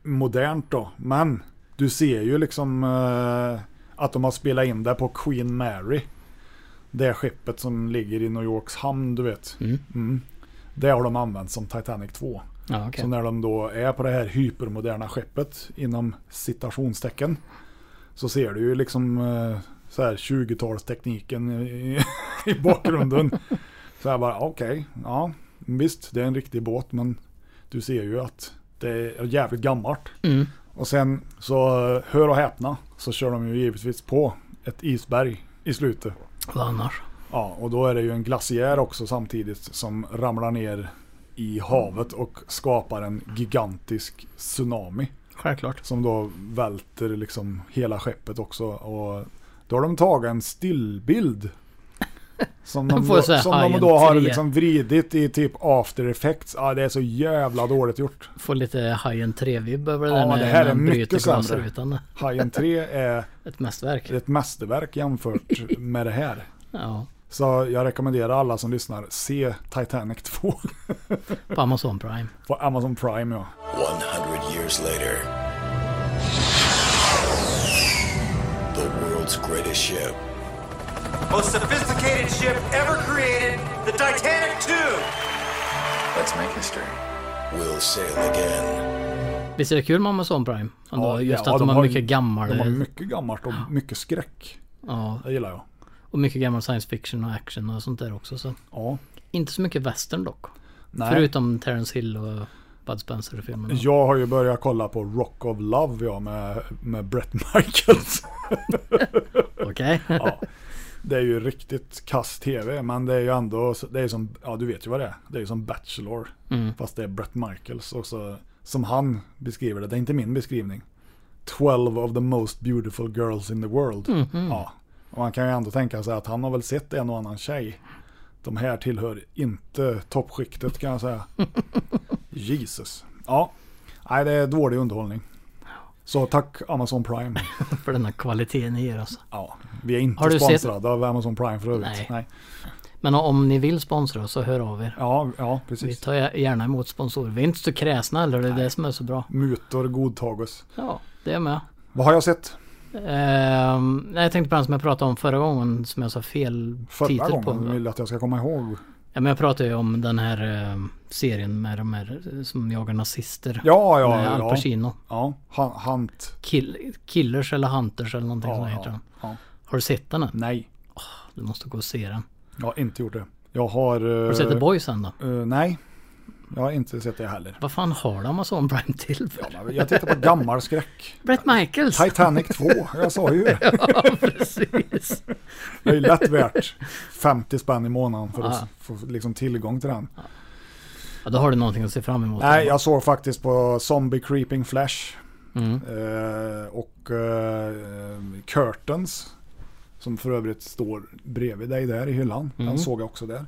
S3: Modernt då, men du ser ju liksom eh, att de har spelat in det på Queen Mary. Det skeppet som ligger i New Yorks hamn, du vet.
S4: Mm.
S3: Mm. Det har de använt som Titanic 2.
S4: Ja, okej.
S3: Så när de då är på det här hypermoderna skeppet inom citationstecken så ser du ju liksom eh, så här 20-talstekniken i, i bakgrunden. så jag bara okej, ja visst det är en riktig båt men du ser ju att det är jävligt gammalt.
S4: Mm.
S3: Och sen så eh, hör och häpna så kör de ju givetvis på ett isberg i slutet.
S4: Vad annars?
S3: Ja, och då är det ju en glaciär också samtidigt som ramlar ner i havet och skapar en gigantisk tsunami
S4: Självklart.
S3: som då välter liksom hela skeppet också. Och då har de tagit en stillbild som de,
S4: Får
S3: då,
S4: så här
S3: som de
S4: Hajen
S3: då har
S4: 3.
S3: liksom vridit i typ after effects. Ja, det är så jävla dåligt gjort.
S4: Får lite Hajen 3-vibb över det
S3: Ja,
S4: där
S3: det här
S4: när när
S3: är
S4: han bryter
S3: mycket sämre.
S4: glasrutan.
S3: Hajen 3 är
S4: Ett mästerverk.
S3: ett mästerverk jämfört med det här.
S4: Ja.
S3: Så jag rekommenderar alla som lyssnar, se Titanic 2
S4: På Amazon Prime.
S3: på Amazon Prime ja.
S5: 100 years later, the world's greatest ship
S6: Most sophisticated ship ever created, the Titanic 2.
S9: Let's make history.
S5: will sail again.
S4: Visst är det kul med Amazon Prime? Ja, just
S3: ja,
S4: att de, har mycket gammal...
S3: De har mycket gammalt och mycket skräck.
S4: ja,
S3: Det gillar jag.
S4: och mycket gammal science fiction och action och sånt där också. Så.
S3: Ja.
S4: Inte så mycket western dock.
S3: Nej.
S4: Förutom Terence Hill och Bud Spencer-filmerna.
S3: Jag har ju börjat kolla på Rock of Love ja, med, med Brett Michaels.
S4: Okej.
S3: ja. Det är ju riktigt kass tv, men det är ju ändå, det är som, ja du vet ju vad det är. Det är ju som Bachelor,
S4: Mm.
S3: fast det är Brett Michaels. Och så, som han beskriver det, det är inte min beskrivning. 12 of the most beautiful girls in the world.
S4: Mhm.
S3: Ja. Och man kan ju ändå tänka sig att han har väl sett en och annan tjej. De här tillhör inte toppskiktet kan jag säga. Jesus. Ja, nej det är dålig underhållning. Så tack Amazon Prime.
S4: För den här kvaliteten i er alltså.
S3: Ja, vi är inte
S4: Har du sett-
S3: sponsrade av Amazon Prime för övrigt.
S4: Nej.
S3: Nej.
S4: Men om ni vill sponsra oss så hör av er.
S3: Ja, ja,
S4: Vi
S3: precis.
S4: tar gärna emot sponsorer. Vi är inte så kräsna eller det är det som är så bra.
S3: Mutor godtages.
S4: Ja, det är med.
S3: Vad har jag sett?
S4: Ehm, nej, jag tänkte på den som jag pratade om förra gången som jag sa fel
S3: Förra
S4: titel
S3: gången
S4: på.
S3: vill jag att jag ska komma ihåg.
S4: Ja, men jag pratade ju om den här ehm, serien med de här eh, som jagar nazister.
S3: Ja, ja,
S4: med Al
S3: ja.
S4: Pacino.
S3: Ja, Han- Hunt.
S4: Kill, killers eller Hunters eller någonting som
S3: Ja,
S4: heter den.
S3: ja, ja.
S4: Har du sett den än?
S3: Nej,
S4: Du måste gå och se den.
S3: jag har inte gjort det. Jag har... eh,
S4: Har du sett The Boys än då?
S3: nej, jag har inte sett det heller.
S4: Vad fan har de Amazon Prime till för?
S3: Jag tittar på gammal skräck.
S4: Brett Michaels!
S3: Titanic 2, jag sa ju det.
S4: ja, precis.
S3: Det är ju lätt värt 50 spänn i månaden för att få liksom tillgång till den.
S4: Ja, då har du någonting att se fram emot.
S3: Nej, jag såg faktiskt på Zombie Creeping Flash. Eh, och eh, Curtains. Som för övrigt står bredvid dig där i hyllan. Den såg jag också där.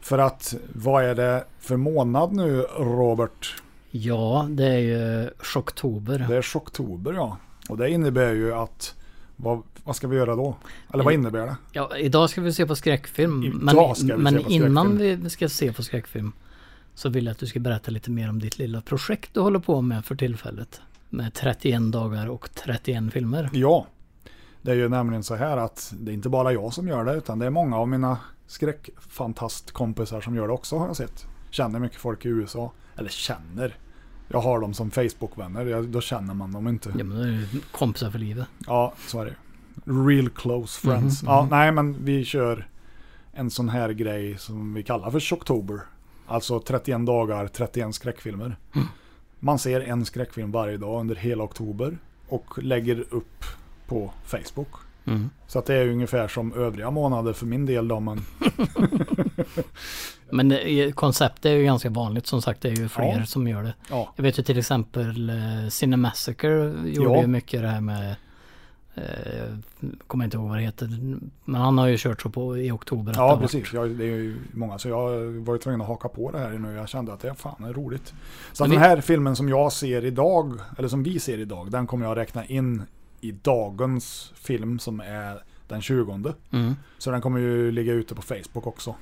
S3: För att, vad är det för månad nu Robert?
S4: Ja, det är ju Chocktober.
S3: Det är Chocktober ja. Och det innebär ju att, vad, vad ska vi göra då? Eller vad innebär det?
S4: Ja, idag ska vi se på skräckfilm.
S3: Idag
S4: men
S3: ska vi se
S4: men
S3: på skräckfilm.
S4: innan vi ska se på skräckfilm så vill jag att du ska berätta lite mer om ditt lilla projekt du håller på med för tillfället. Med 31 dagar och 31 filmer.
S3: Ja, det är ju nämligen så här att det är inte bara jag som gör det utan det är många av mina skräckfantastkompisar som gör det också har jag sett. Känner mycket folk i USA. Eller känner. Jag har dem som Facebookvänner, Jag- då känner man dem inte.
S4: Ja, men då är det ju kompisar för livet.
S3: Ja, så är det Real close friends. Ja, nej, men vi kör en sån här grej som vi kallar för Shocktober. Alltså 31 dagar, 31 skräckfilmer. Man ser en skräckfilm varje dag under hela oktober och lägger upp på Facebook. Så att det är ungefär som övriga månader för min del då, men
S4: Men det är- koncept är ju ganska vanligt som sagt. Det är ju fler
S3: Ja.
S4: som gör det.
S3: ja.
S4: Jag vet ju till exempel eh, Cinemassacre gjorde
S3: Ja.
S4: ju mycket det här med eh, kommer inte ihåg vad det heter. Men han har ju kört så på i oktober. att det
S3: Ja,
S4: har
S3: precis. Jag, det är ju många, så jag var ju tvungen att haka på det här nu. Jag kände att det är fan är roligt. Så att
S4: Men
S3: den
S4: vi-
S3: här filmen som jag ser idag, eller som vi ser idag, den kommer jag räkna in i dagens film som är den 20.
S4: Mm.
S3: Så den kommer ju ligga ute på Facebook också.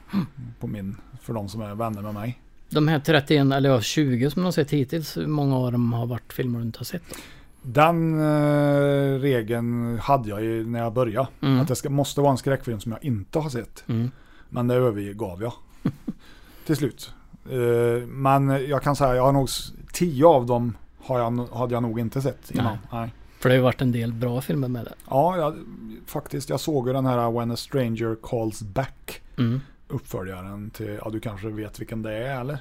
S3: På min, för de som är vänner med mig.
S4: De här 31, eller ja, 20 som de har sett hittills, hur många av dem har varit filmer du inte har sett? Då?
S3: Den eh, regeln hade jag ju när jag började. Att det ska, måste vara en skräckfilm som jag inte har sett. Men det övergav jag. Till slut. Eh, men jag kan säga, jag har nog s- tio av dem har jag, no- hade jag nog inte sett innan. Nej.
S4: För det har ju varit en del bra filmer med det.
S3: Ja, jag, faktiskt. Jag såg ju den här When a Stranger Calls Back. Uppföljaren till, ja du kanske vet vilken det är eller?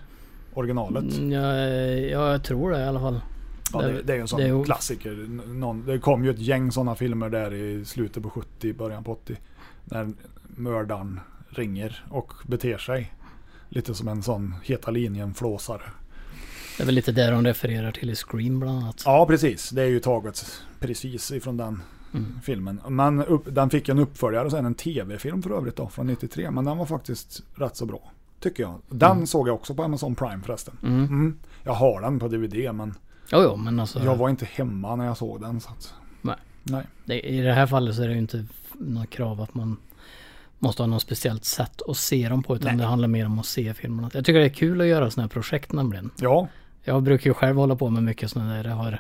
S3: Originalet.
S4: Mm, Ja, eh, ja, jag tror det i alla fall.
S3: Ja, det, det är ju en sån
S4: det är ju-
S3: klassiker. N- Någon, det kom ju ett gäng sådana filmer där i slutet på 70, början på 80. När mördaren ringer och beter sig. Lite som en sån heta linjen-flåsare.
S4: Det är väl lite där de refererar till i Scream bland annat.
S3: Ja, precis. Det är ju taget precis ifrån den filmen. Men upp, den fick en uppföljare sen, en tv-film för övrigt då, från 93. Men den var faktiskt rätt så bra, tycker jag. Den såg jag också på Amazon Prime förresten. Mm. Jag har den på DVD, men
S4: Jo, jo, men alltså.
S3: jag var inte hemma när jag såg den. Så att,
S4: Nej.
S3: nej.
S4: det, I det här fallet så är det ju inte f- något krav att man måste ha något speciellt sätt att se dem på. Utan det handlar mer om att se filmerna. Jag tycker det är kul att göra sådana här projekt nämligen.
S3: Ja,
S4: Jag brukar ju själv hålla på med mycket sådana där. Jag har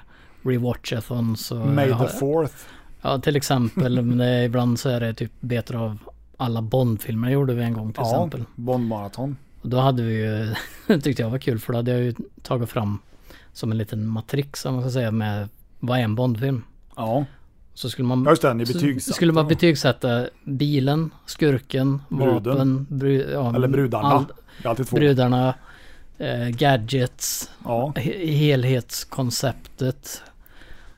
S4: rewatchathons och...
S3: May
S4: jag har,
S3: the fourth.
S4: Ja, till exempel. Men det är, ibland så är det typ beter av alla Bond-filmer gjorde vi en gång till
S3: Ja,
S4: exempel.
S3: Bondmaraton.
S4: Och då hade vi ju, tyckte jag var kul, för då hade jag ju tagit fram som en liten matrix, om man ska säga, med vad är en Bondfilm?
S3: Ja,
S4: Så skulle man...
S3: Ja, just det, ni
S4: Mm. så
S3: betygsatte
S4: Skulle man
S3: dem.
S4: betygsätta bilen, skurken,
S3: Bruden.
S4: vapen, bru, ja,
S3: eller Brudarna.
S4: all-
S3: det är alltid två.
S4: brudarna, eh, gadgets,
S3: Ja.
S4: he- helhetskonceptet.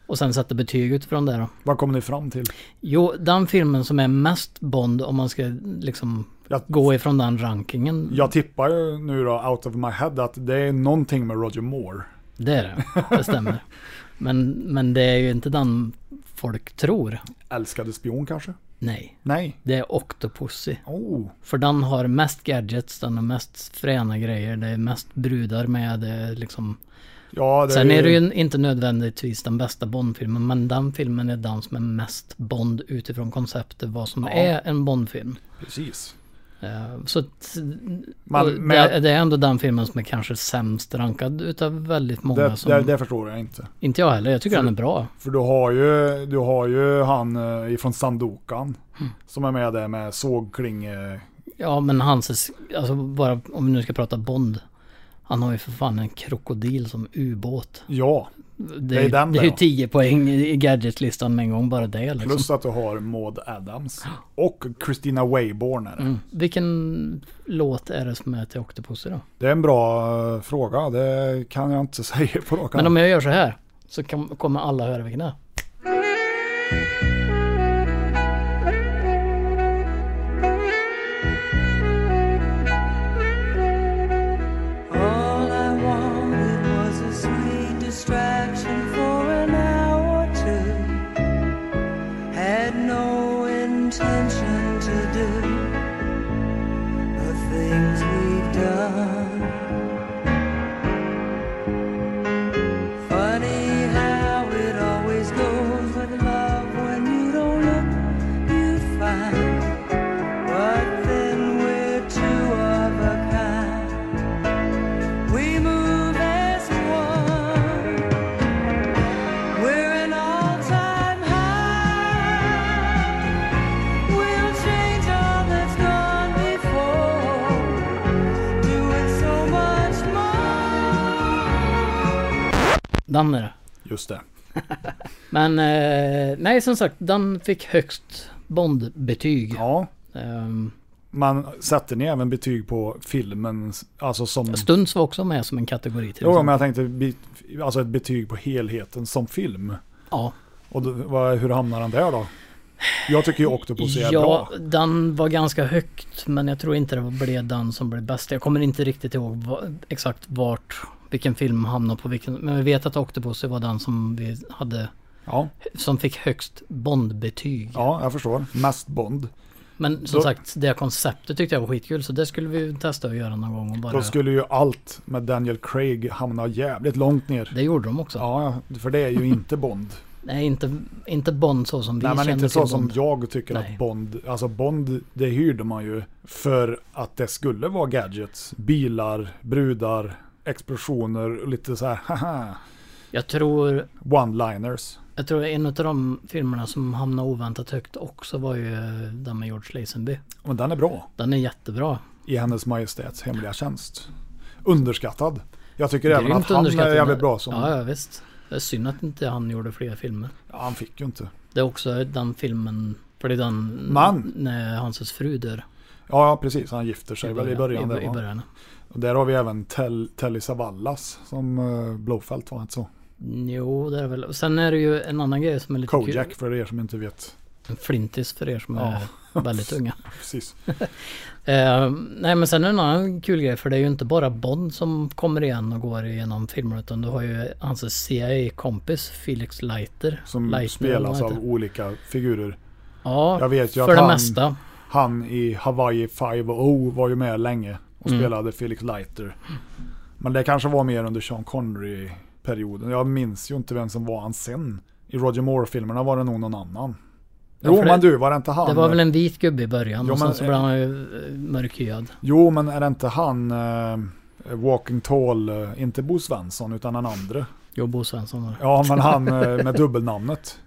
S4: Och sen sätta betyg utifrån det då.
S3: Vad kom ni fram till?
S4: Jo, den filmen som är mest Bond om man ska liksom
S3: Jag,
S4: gå ifrån den rankingen.
S3: jag tippar ju nu då out of my head att det är någonting med Roger Moore.
S4: Det är det, det stämmer. men, men det är ju inte den folk tror.
S3: Älskade spion kanske?
S4: Nej,
S3: Nej.
S4: det är Octopussy.
S3: Oh,
S4: För den har mest gadgets, den har mest fräna grejer, det är mest brudar med. Det är liksom...
S3: ja, det
S4: Sen är det ju inte nödvändigtvis den bästa Bond-filmen, men den filmen är den som är mest Bond utifrån konceptet vad som är en Bond-film.
S3: Precis.
S4: Eh, Så att,
S3: Men
S4: och det,
S3: med-
S4: det är ändå den filmen som är kanske sämst rankad utav väldigt många.
S3: Det,
S4: som,
S3: det, det förstår jag inte.
S4: Inte jag heller, jag tycker den är bra.
S3: För du har ju, du har ju han eh, ifrån Sandokan
S4: Hmm.
S3: som är med där med sågkling. eh,
S4: Ja men hans, alltså bara om vi nu ska prata Bond. Han har ju för fan en krokodil som ubåt.
S3: Ja,
S4: Det,
S3: är
S4: är-
S3: den
S4: det är
S3: där,
S4: ju
S3: ja.
S4: 10 poäng i i gadgetlistan med en gång bara det liksom.
S3: plus att du har Maud Adams och Christina Wayborn är det.
S4: Mm. Vilken låt är det som är till Octopussy då?
S3: Det är en bra eh, fråga, det kan jag inte säga på rak
S4: Men
S3: arm.
S4: om jag gör så här så kan, kommer alla höra vilken det är.
S10: All I wanted was a sweet distraction for an hour or two. Had no intention to do the things we've done. Funny how it always goes with love when you don't look, you find. But then we're two of a kind. We move as one. We're an all-time high. We'll change all that's gone before, doing so much more.
S4: Den är det.
S3: Just det.
S4: Men eh, nej som sagt den fick högst Bond-betyg.
S3: Ja,
S4: Ehm,
S3: men sätter ni även betyg på filmen, alltså som...
S4: Stunts var också med som en kategori till
S3: Jo,
S4: exempel.
S3: men jag tänkte be- alltså ett betyg på helheten som film.
S4: Ja.
S3: Och då, vad, hur hamnar den där då? Jag tycker ju Octopus är
S4: ja,
S3: bra.
S4: den var ganska högt men jag tror inte det blev den som blev bäst. Jag kommer inte riktigt ihåg va, exakt vart, vilken film hamnade på vilken. Men vi vet att Octopus var den som vi hade,
S3: Ja,
S4: som fick högst Bond-betyg.
S3: ja, jag förstår. Mest Bond.
S4: Men som
S3: Då-
S4: sagt, det konceptet tyckte jag var skitkul så det skulle vi ju testa att göra någon gång och bara...
S3: Då skulle ju allt med Daniel Craig hamna jävligt långt ner.
S4: Det gjorde de också.
S3: Ja, för det är ju inte Bond.
S4: Nej, inte, inte Bond så som vi
S3: Nej, men
S4: känner
S3: inte så
S4: till
S3: som
S4: Bond.
S3: jag tycker
S4: Nej.
S3: att Bond... Alltså Bond, det hyrde man ju för att det skulle vara gadgets. Bilar, brudar, explosioner och lite så här haha,
S4: Jag tror,
S3: one-liners.
S4: jag tror en av de filmerna som hamnade oväntat högt också var ju eh, den med George Lazenby.
S3: Men den är bra.
S4: Den är jättebra.
S3: I hennes majestäts hemliga tjänst. Underskattad. Jag tycker även
S4: Grymt
S3: att han är
S4: underskattad.
S3: jävligt bra som...
S4: Ja, ja visst. Det är synd att inte han gjorde fler filmer.
S3: Ja, han fick ju inte.
S4: Det är också den filmen, för det är den...
S3: Man.
S4: När Hanses fru dör.
S3: Ja, ja, precis. Han gifter sig väl i början. där,
S4: I, i
S3: va?
S4: början.
S3: Och där har vi även Tel, Telly Savalas som uh, Blowfelt var inte så.
S4: Jo, det är väl. Och Sen är det ju en annan grej som är lite
S3: Kojak
S4: kul.
S3: för er som inte vet.
S4: En flintis för er som är väldigt unga.
S3: Precis.
S4: Eh, nej men sen är det en annan kul grej för det är ju inte bara Bond som kommer igen och går igenom filmer utan du har ju hans CIA-kompis Felix Leiter.
S3: Som
S4: Leiter, eller vad
S3: spelas
S4: han
S3: av
S4: heter.
S3: olika figurer.
S4: Ja,
S3: Jag vet ju att
S4: för det
S3: han-
S4: mesta.
S3: Han i Hawaii 5 O var ju med länge och
S4: Mm.
S3: spelade Felix Leiter. Men det kanske var mer under Sean Connery-perioden. Jag minns ju inte vem som var han sen. I Roger Moore-filmerna var det nog någon annan.
S4: Ja,
S3: Jo
S4: för det-
S3: men du, var det inte han?
S4: Det var väl en vit gubbe i början
S3: Jo,
S4: och sen
S3: men-
S4: så blev han ju eh, mörkhyad.
S3: Jo men är det inte han eh, Walking Tall, eh, inte Bo Svensson utan den andre?
S4: Jo, Bo Svensson var det.
S3: Ja, men han eh, med dubbelnamnet.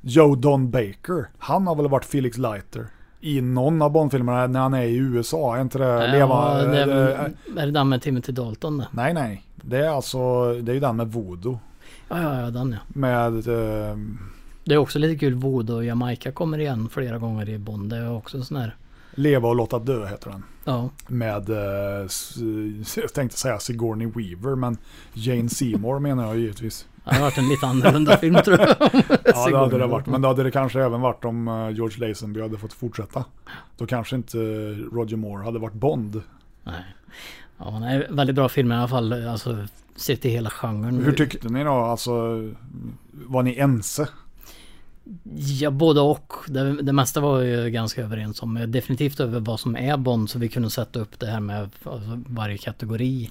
S3: Joe Don Baker. Han har väl varit Felix Leiter i någon av Bondfilmerna när han är i USA. Är inte det leva...
S4: Ja, det är,
S3: eh,
S4: väl- är det den med Timothy Dalton det?
S3: nej, nej. Det är alltså, det är ju den med voodoo.
S4: Ja, ja, ja, den ja.
S3: Med, eh,
S4: Det är också lite kul, Voodoo och Jamaica kommer igen flera gånger i Bond. Det är också en sån här
S3: Leva och låta dö heter den.
S4: Ja.
S3: Med, eh, s- jag tänkte säga Sigourney Weaver, men Jane Seymour menar jag givetvis.
S4: Det hade varit en lite annorlunda film tror jag.
S3: Ja, det hade det
S4: Sigourney.
S3: varit. Men det hade det kanske även varit om eh, George Lazenby hade fått fortsätta. Då kanske inte eh, Roger Moore hade varit Bond.
S4: Nej. Ja, nej, väldigt bra film i alla fall. Alltså, sett i hela genren.
S3: Hur tyckte ni då? Alltså, var ni ense?
S4: Ja, både och. Det, det mesta var ju ganska överens om. Definitivt över vad som är Bond, så vi kunde sätta upp det här med alltså, varje kategori.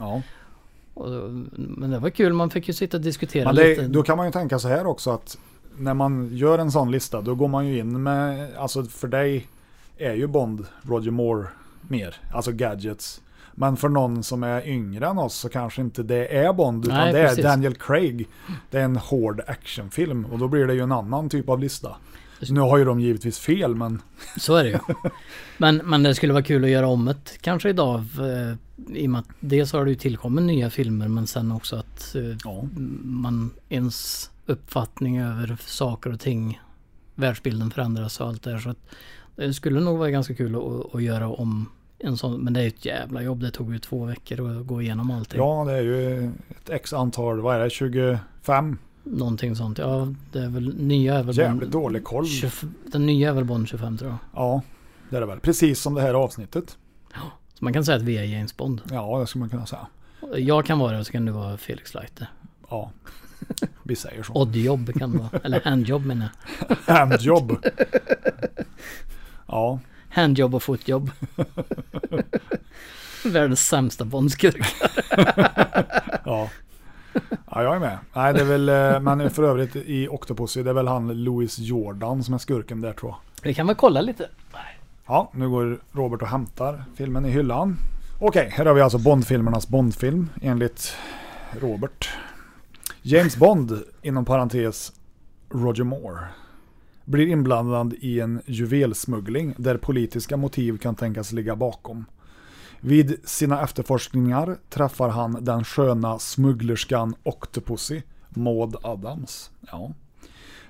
S4: Och, men det var kul, man fick ju sitta och diskutera
S3: Men det,
S4: lite.
S3: då kan man ju tänka så här också att när man gör en sån lista då går man ju in med, alltså för dig är ju Bond Roger Moore mer, alltså gadgets. Men för någon som är yngre än oss så kanske inte det är Bond utan
S4: Nej,
S3: det är
S4: precis.
S3: Daniel Craig. Det är en hård actionfilm och då blir det ju en annan typ av lista. Nu har ju de givetvis fel men
S4: Så är det ju. Men, men det skulle vara kul att göra om ett kanske idag. eh, I och med att dels har det ju tillkommit nya filmer men sen också att eh, man ens uppfattning över saker och ting, världsbilden förändras och allt det här. Så att det skulle nog vara ganska kul att, att göra om en sån. Men det är ju ett jävla jobb. Det tog ju två veckor att gå igenom allting.
S3: ja det är ju ett x antal, vad är det, 25?
S4: Någonting sånt. Ja, det är väl nya är väl
S3: Jävligt dålig koll.
S4: 25 Den nya är väl Bond 25 tror jag.
S3: Ja, det är det väl. Precis som det här avsnittet.
S4: Så man kan säga att vi är James Bond.
S3: Ja, det skulle man kunna säga.
S4: Jag kan vara det så kan du vara Felix Leiter.
S3: Ja, vi säger så.
S4: Oddjobb kan det vara. Eller handjobb menar jag.
S3: Handjobb. Ja,
S4: Handjobb och fotjobb. Världens sämsta bondskurk.
S3: ja. Ja, jag är med. Nej, det är väl, eh, men för övrigt i Octopussy, det är väl han Louis Jordan som är skurken där tror jag.
S4: Vi kan väl kolla lite.
S3: Ja, nu går Robert och hämtar filmen i hyllan. Okej, här har vi alltså Bondfilmernas Bondfilm enligt Robert. James Bond, inom parentes Roger Moore, blir inblandad i en juvelsmuggling där politiska motiv kan tänkas ligga bakom. Vid sina efterforskningar träffar han den sköna smugglerskan Octopussy, Maud Adams. Ja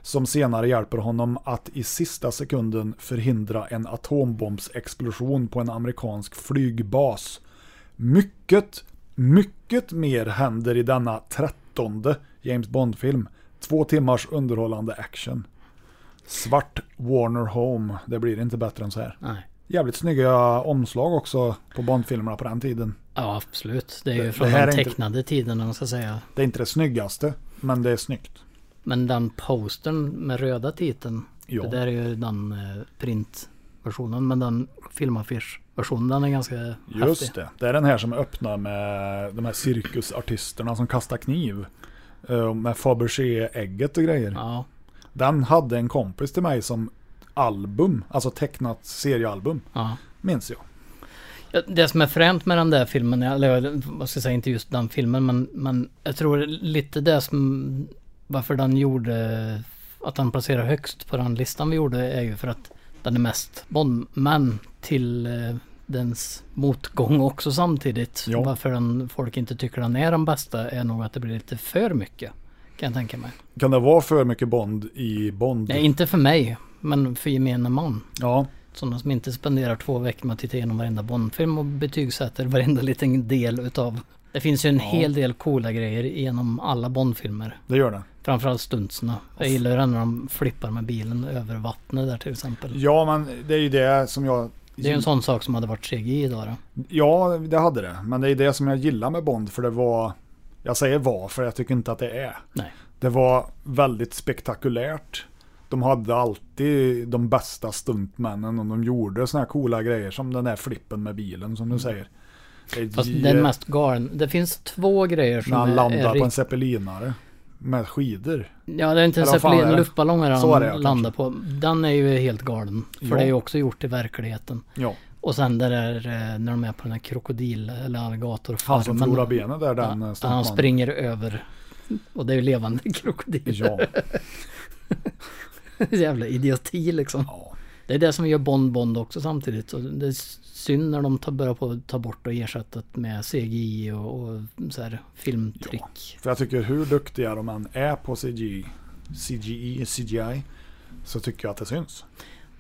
S3: som senare hjälper honom att i sista sekunden förhindra en atombombsexplosion på en amerikansk flygbas. Mycket, mycket mer händer i denna trettonde James Bond-film. Två timmars underhållande action. Svart Warner Home, det blir inte bättre än så här.
S4: Nej.
S3: Jävligt snygga omslag också på Bond-filmerna på den tiden.
S4: Ja absolut. Det är ju
S3: Det-
S4: från
S3: det här
S4: den
S3: är inte-
S4: tecknade tiden om man ska säga.
S3: Det är inte det snyggaste, men det är snyggt.
S4: Men den postern med röda titeln.
S3: Ja.
S4: Det där är ju den eh, printversionen. Men den filmaffischversionen den är ganska
S3: Just
S4: häftig.
S3: det. Det är den här som öppnar med de här cirkusartisterna som kastar kniv. Eh, Med Fabergé-ägget och grejer.
S4: Ja.
S3: Den hade en kompis till mig som album, alltså tecknat seriealbum.
S4: ja.
S3: Minns jag.
S4: Ja, Det som är fränt med den där filmen, eller vad ska jag säga, inte just den filmen, men, men jag tror lite det som varför den gjorde, att den placerar högst på den listan vi gjorde är ju för att den är mest Bond, men till eh, dens motgång också samtidigt.
S3: Ja.
S4: Varför den, folk inte tycker den är den bästa är nog att det blir lite för mycket. Kan jag tänka mig.
S3: Kan det vara för mycket Bond i Bond?
S4: Nej, inte för mig, men för gemene man.
S3: Ja,
S4: Sådana som inte spenderar två veckor med att titta igenom varenda Bondfilm och betygsätter varenda liten del utav. Det finns ju en hel del coola grejer genom alla Bondfilmer.
S3: det gör det.
S4: Framförallt stuntsna. Jag gillar ju den när de flippar med bilen över vattnet där till exempel.
S3: Ja, men det är ju det som jag...
S4: Det är ju en sån sak som hade varit CGI idag då.
S3: Ja, det hade det. Men det är det som jag gillar med Bond, för det var... Jag säger var, för jag tycker inte att det är.
S4: Nej.
S3: Det var väldigt spektakulärt. De hade alltid de bästa stuntmännen och de gjorde såna här coola grejer som den där flippen med bilen som du säger.
S4: Mm. Fast
S3: Det-
S4: den mest galen. Det finns två grejer som
S3: när han
S4: är,
S3: landar
S4: är
S3: på en
S4: rikt-
S3: zeppelinare med skidor.
S4: Ja, det är inte en
S3: Eller vad fan
S4: zeppelin,
S3: är det?
S4: luftballonger
S3: Så är det, ja,
S4: han landar på. Den är ju helt galen. För
S3: Ja.
S4: det är ju också gjort i verkligheten.
S3: Ja,
S4: Och sen det där eh, när de är på den här krokodil eller alligatorfarmen.
S3: han som förlorar benet där, den eh, ja,
S4: Ja, han springer över. Och det är ju levande krokodiler.
S3: Ja,
S4: Jävla idioti liksom.
S3: ja.
S4: Det är det som gör Bond Bond också samtidigt. Och det är synd när de tar, börjar på att ta bort och ersätta det med CGI och, och så här filmtrick.
S3: För jag tycker hur duktiga de än är på E, CGI, CGI, CGI, så tycker jag att det syns.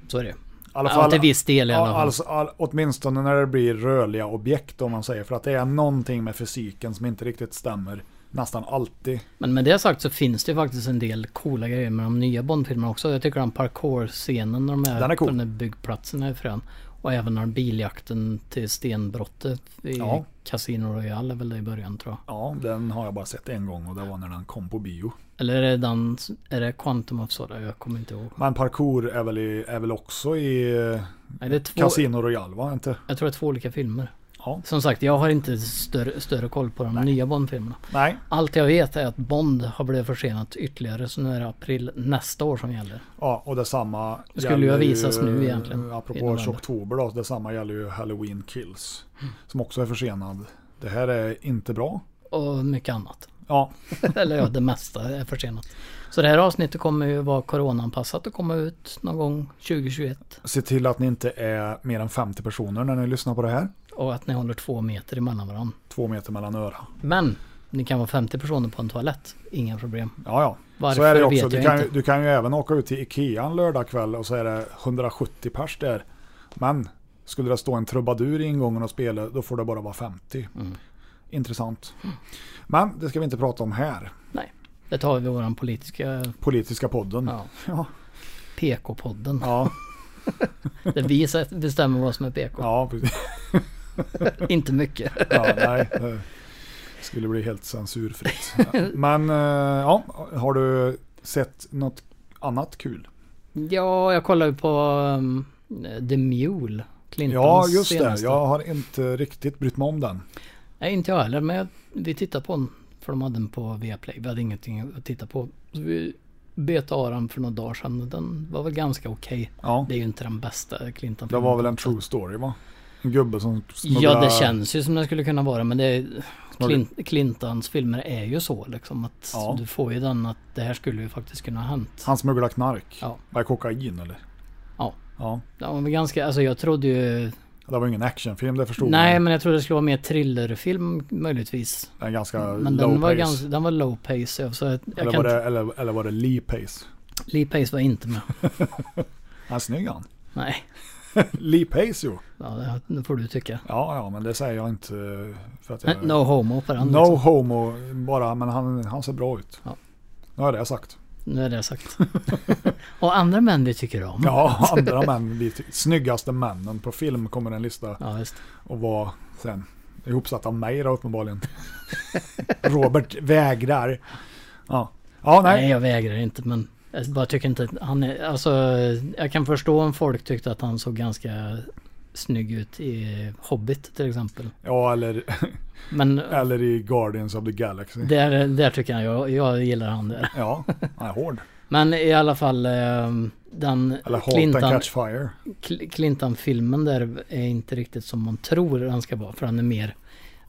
S4: Så är det.
S3: alla
S4: Ja, till viss del i alla
S3: Ja,
S4: fall.
S3: Alltså, all, åtminstone när det blir rörliga objekt om man säger. För att det är någonting med fysiken som inte riktigt stämmer nästan alltid.
S4: Men med det sagt så finns det ju faktiskt en del coola grejer med de nya Bond-filmerna också. Jag tycker den parkour-scenen när de är,
S3: Den är cool.
S4: på den där byggplatsen är frän. Och även när biljakten till stenbrottet i
S3: Ja.
S4: Casino Royale är väl det i början tror jag.
S3: Ja, den har jag bara sett en gång och det var när den kom på bio.
S4: Eller är det, den, är det Quantum of Solace? Jag kommer inte ihåg.
S3: Men parkour är väl, i, är väl också i eh,
S4: Nej, det är två,
S3: Casino Royale va? Inte?
S4: Jag tror det är två olika filmer.
S3: Ja.
S4: Som sagt, jag har inte större, större koll på de nya Bond-filmerna.
S3: Nej.
S4: Allt jag vet är att Bond har blivit försenat ytterligare så nu är det april nästa år som gäller.
S3: Ja, och detsamma
S4: Det skulle ju ha
S3: gäller
S4: visats nu egentligen, i
S3: Apropå
S4: november. Mm.
S3: oktober då, detsamma gäller ju Halloween Kills. Som också är försenad. Det här är inte bra.
S4: Och mycket annat.
S3: Ja,
S4: Eller ja, det mesta är försenat. Så det här avsnittet kommer ju vara coronaanpassat och komma ut någon gång 2021.
S3: se till att ni inte är mer än 50 personer när ni lyssnar på det här.
S4: Och att ni håller två meter emellan varandra.
S3: Två meter mellan öra.
S4: Men ni kan vara 50 personer på en toalett. Inga problem.
S3: Ja, ja.
S4: Varför
S3: så är det ju
S4: vet
S3: också.
S4: jag
S3: Du kan, ju-
S4: inte.
S3: du kan ju även åka ut till Ikea en lördag kväll och så är det 170 pers där. Men skulle det stå en trubadur i ingången och spela, då får det bara vara 50.
S4: Mm.
S3: Intressant. Men det ska vi inte prata om här.
S4: Nej, det tar vi i våran politiska
S3: Politiska podden.
S4: ja,
S3: Ja.
S4: PK-podden.
S3: Ja,
S4: Där vi sätt- bestämmer vad som är PK.
S3: ja, precis.
S4: Inte mycket.
S3: ja nej. Det skulle bli helt censurfritt. Ja. Men eh, ja, har du sett något annat kul?
S4: Ja, jag kollar ju på um, The Mule. Clintons
S3: Ja, just det.
S4: senaste.
S3: Jag har inte riktigt brytt mig om den.
S4: Nej, inte jag heller. Men jag, vi tittade på den. För de hade den på Viaplay. Vi hade ingenting att titta på. Så vi bet av den för några dagar sedan. Den var väl ganska okej.
S3: Ja,
S4: Det är ju inte den bästa Clinton.
S3: det var väl en true story va? En gubbe som
S4: Ja,
S3: smugglar-
S4: det känns ju som den skulle kunna vara. Men det är, Clint, Clintons filmer är ju så liksom. Att
S3: Ja.
S4: du får ju den att det här skulle ju faktiskt kunna ha hänt.
S3: Han smugglar knark.
S4: Ja.
S3: Var det kokain eller?
S4: Ja.
S3: Ja.
S4: Den var väl ganska, alltså jag trodde ju
S3: Det var ju ingen actionfilm, det förstod
S4: Nej,
S3: man.
S4: men jag trodde det skulle vara mer thrillerfilm möjligtvis.
S3: Den är ganska
S4: Men
S3: low
S4: den var,
S3: pace.
S4: ganska, den var low pace. ja, Så jag, jag
S3: eller,
S4: kan
S3: var
S4: inte,
S3: det, eller, eller var det Lee Pace?
S4: Lee Pace var inte med.
S3: Han är snygg han.
S4: Nej,
S3: Lee Pace jo.
S4: ja, det- det får du tycka. Eh.
S3: Ja, ja, men det säger jag inte eh, för att jag...
S4: No homo på den.
S3: No
S4: liksom.
S3: homo bara, men han, han ser bra ut.
S4: Ja.
S3: Nu har jag det sagt.
S4: Nu är det sagt. Och andra män vi tycker om.
S3: Ja, andra män. Vi ty- snyggaste männen på film kommer en lista
S4: Ja, just. det.
S3: och vara sen ihopsatt av mig då uppenbarligen. Robert vägrar. Ja, ja
S4: Nej.
S3: nej.
S4: jag vägrar inte men jag bara tycker inte att han är, alltså jag kan förstå om folk tyckte att han såg ganska snygg ut i Hobbit till exempel.
S3: Ja, eller,
S4: Men
S3: eller i Guardians of the Galaxy.
S4: där, där tycker jag, jag, jag gillar han där.
S3: Ja, han är hård.
S4: Men i alla fall eh, den
S3: Eller Halt and
S4: Clinton,
S3: Catch Fire.
S4: Cl- Clinton-filmen där är inte riktigt som man tror den ska vara. För den är mer,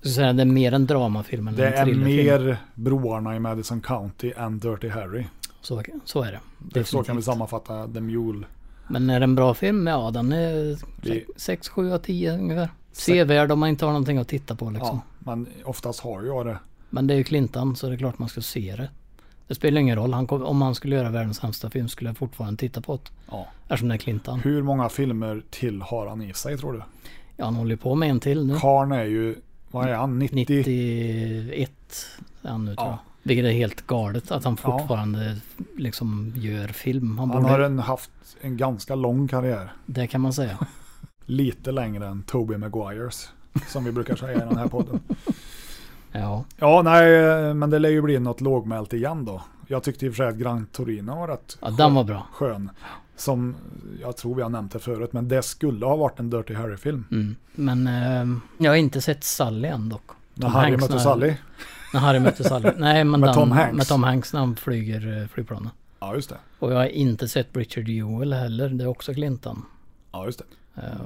S4: jag ska säga, det är mer en dramafilm än
S3: Det
S4: en
S3: är
S4: thrillerfilm.
S3: mer broarna i Madison County än Dirty Harry.
S4: Så, så är det.
S3: Det så kan vi
S4: Definitivt.
S3: sammanfatta The Mule.
S4: Men är det en bra film? Ja, den är
S3: Vi-
S4: 6, 7 av 10 ungefär. Sevärd om man inte har någonting att titta på liksom.
S3: Ja, men oftast har jag det.
S4: Men det är ju Clinton så det är klart man ska se det. Det spelar ingen roll. Han kom, om han skulle göra världens sämsta film skulle jag fortfarande titta på det.
S3: Ja.
S4: Eftersom det är Clinton.
S3: Hur många filmer till har han i sig tror du?
S4: Ja, han håller ju på med en till nu.
S3: Karn är ju, vad är han, 90?
S4: 91 är han nu tror jag.
S3: Ja.
S4: Vilket är helt galet att han
S3: Ja.
S4: fortfarande liksom gör film. Han,
S3: Han
S4: borde,
S3: har en, haft en ganska lång karriär.
S4: Det kan man säga.
S3: Lite längre än Toby Maguires. Som vi brukar säga i den här podden.
S4: Ja.
S3: Ja, nej, men det lär ju bli något lågmält igen då. Jag tyckte i och för sig att Gran Torino var rätt
S4: ja, den var bra.
S3: skön. Som jag tror vi har nämnt det förut, men det skulle ha varit en Dirty Harry-film.
S4: Mm. Men eh, jag har inte sett Sally än dock.
S3: När Harry
S4: Hanks
S3: mötte
S4: när-
S3: Sally.
S4: När Harry mötte Sally. Nej, men
S3: Med
S4: den,
S3: Tom Hanks.
S4: Med Tom Hanks när han flyger eh, flygplanen.
S3: Ja, just det.
S4: Och jag har inte sett Richard Jewell heller. Det är också Clinton.
S3: Ja, just det.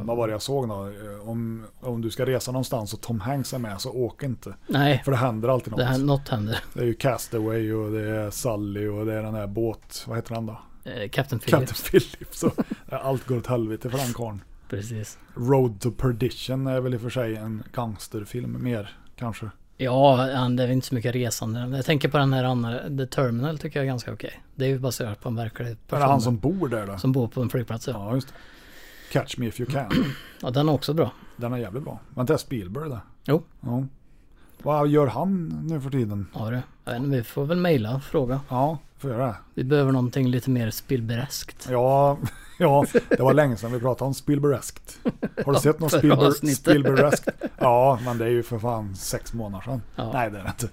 S3: Vad var det jag såg då? Eh, Om, om du ska resa någonstans och Tom Hanks är med så åk inte.
S4: Nej,
S3: För det händer alltid något.
S4: det
S3: Det,
S4: här, något händer.
S3: är ju Castaway och det är Sally och det är den här båt... Vad heter han då?
S4: Eh, Captain Phillips.
S3: Captain Phillips. Och, allt går åt helvete för den karln.
S4: Precis.
S3: Road to Perdition är väl i och för sig en gangsterfilm mer kanske.
S4: Ja, han- det är inte så mycket resande. Jag tänker på den här andra, The Terminal tycker jag är ganska okej. Det är ju baserat på en verklig
S3: Är
S4: person.
S3: det han som bor där då?
S4: som bor på en flygplats. Ja.
S3: Ja, just det. Catch Me If You Can.
S4: Ja, den är också bra.
S3: Den är jävligt bra. Var inte Spielberg det?
S4: Jo.
S3: Ja. Vad gör han nu för tiden?
S4: Ja du, jag vet inte, vi får väl mejla och fråga.
S3: Ja, får göra det.
S4: Vi behöver någonting lite mer spillberäskt.
S3: Ja, ja, det var länge sedan vi pratade om Spielbergskt. Har du sett något
S4: Förra
S3: Spielber-
S4: avsnittet.
S3: Spielbergskt? Ja, men det är ju för fan sex månader sedan.
S4: Ja.
S3: Nej, det är det inte.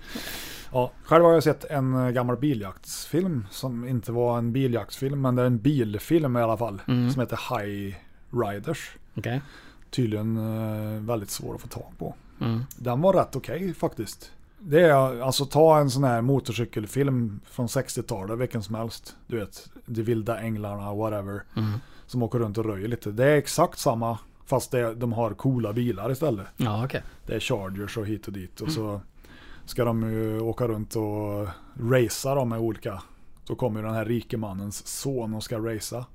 S3: Ja, själv har jag sett en eh, gammal biljaktsfilm som inte var en biljaktsfilm, men det är en bilfilm i alla fall.
S4: Mm.
S3: Som heter High Riders.
S4: Okej.
S3: Tydligen eh, väldigt svår att få tag på.
S4: Mm.
S3: Den var rätt okej faktiskt. Det är alltså ta en sån här motorcykelfilm från 60-talet, vilken som helst. Du vet, De vilda änglarna, whatever.
S4: Mm.
S3: Som åker runt och röjer lite. Det är exakt samma, fast det, de har coola bilar istället.
S4: Ja, okej.
S3: Det är chargers och hit och dit. Och
S4: Mm.
S3: så ska de ju åka runt och racea dem med olika. Då kommer ju den här rikemannens son och ska racea.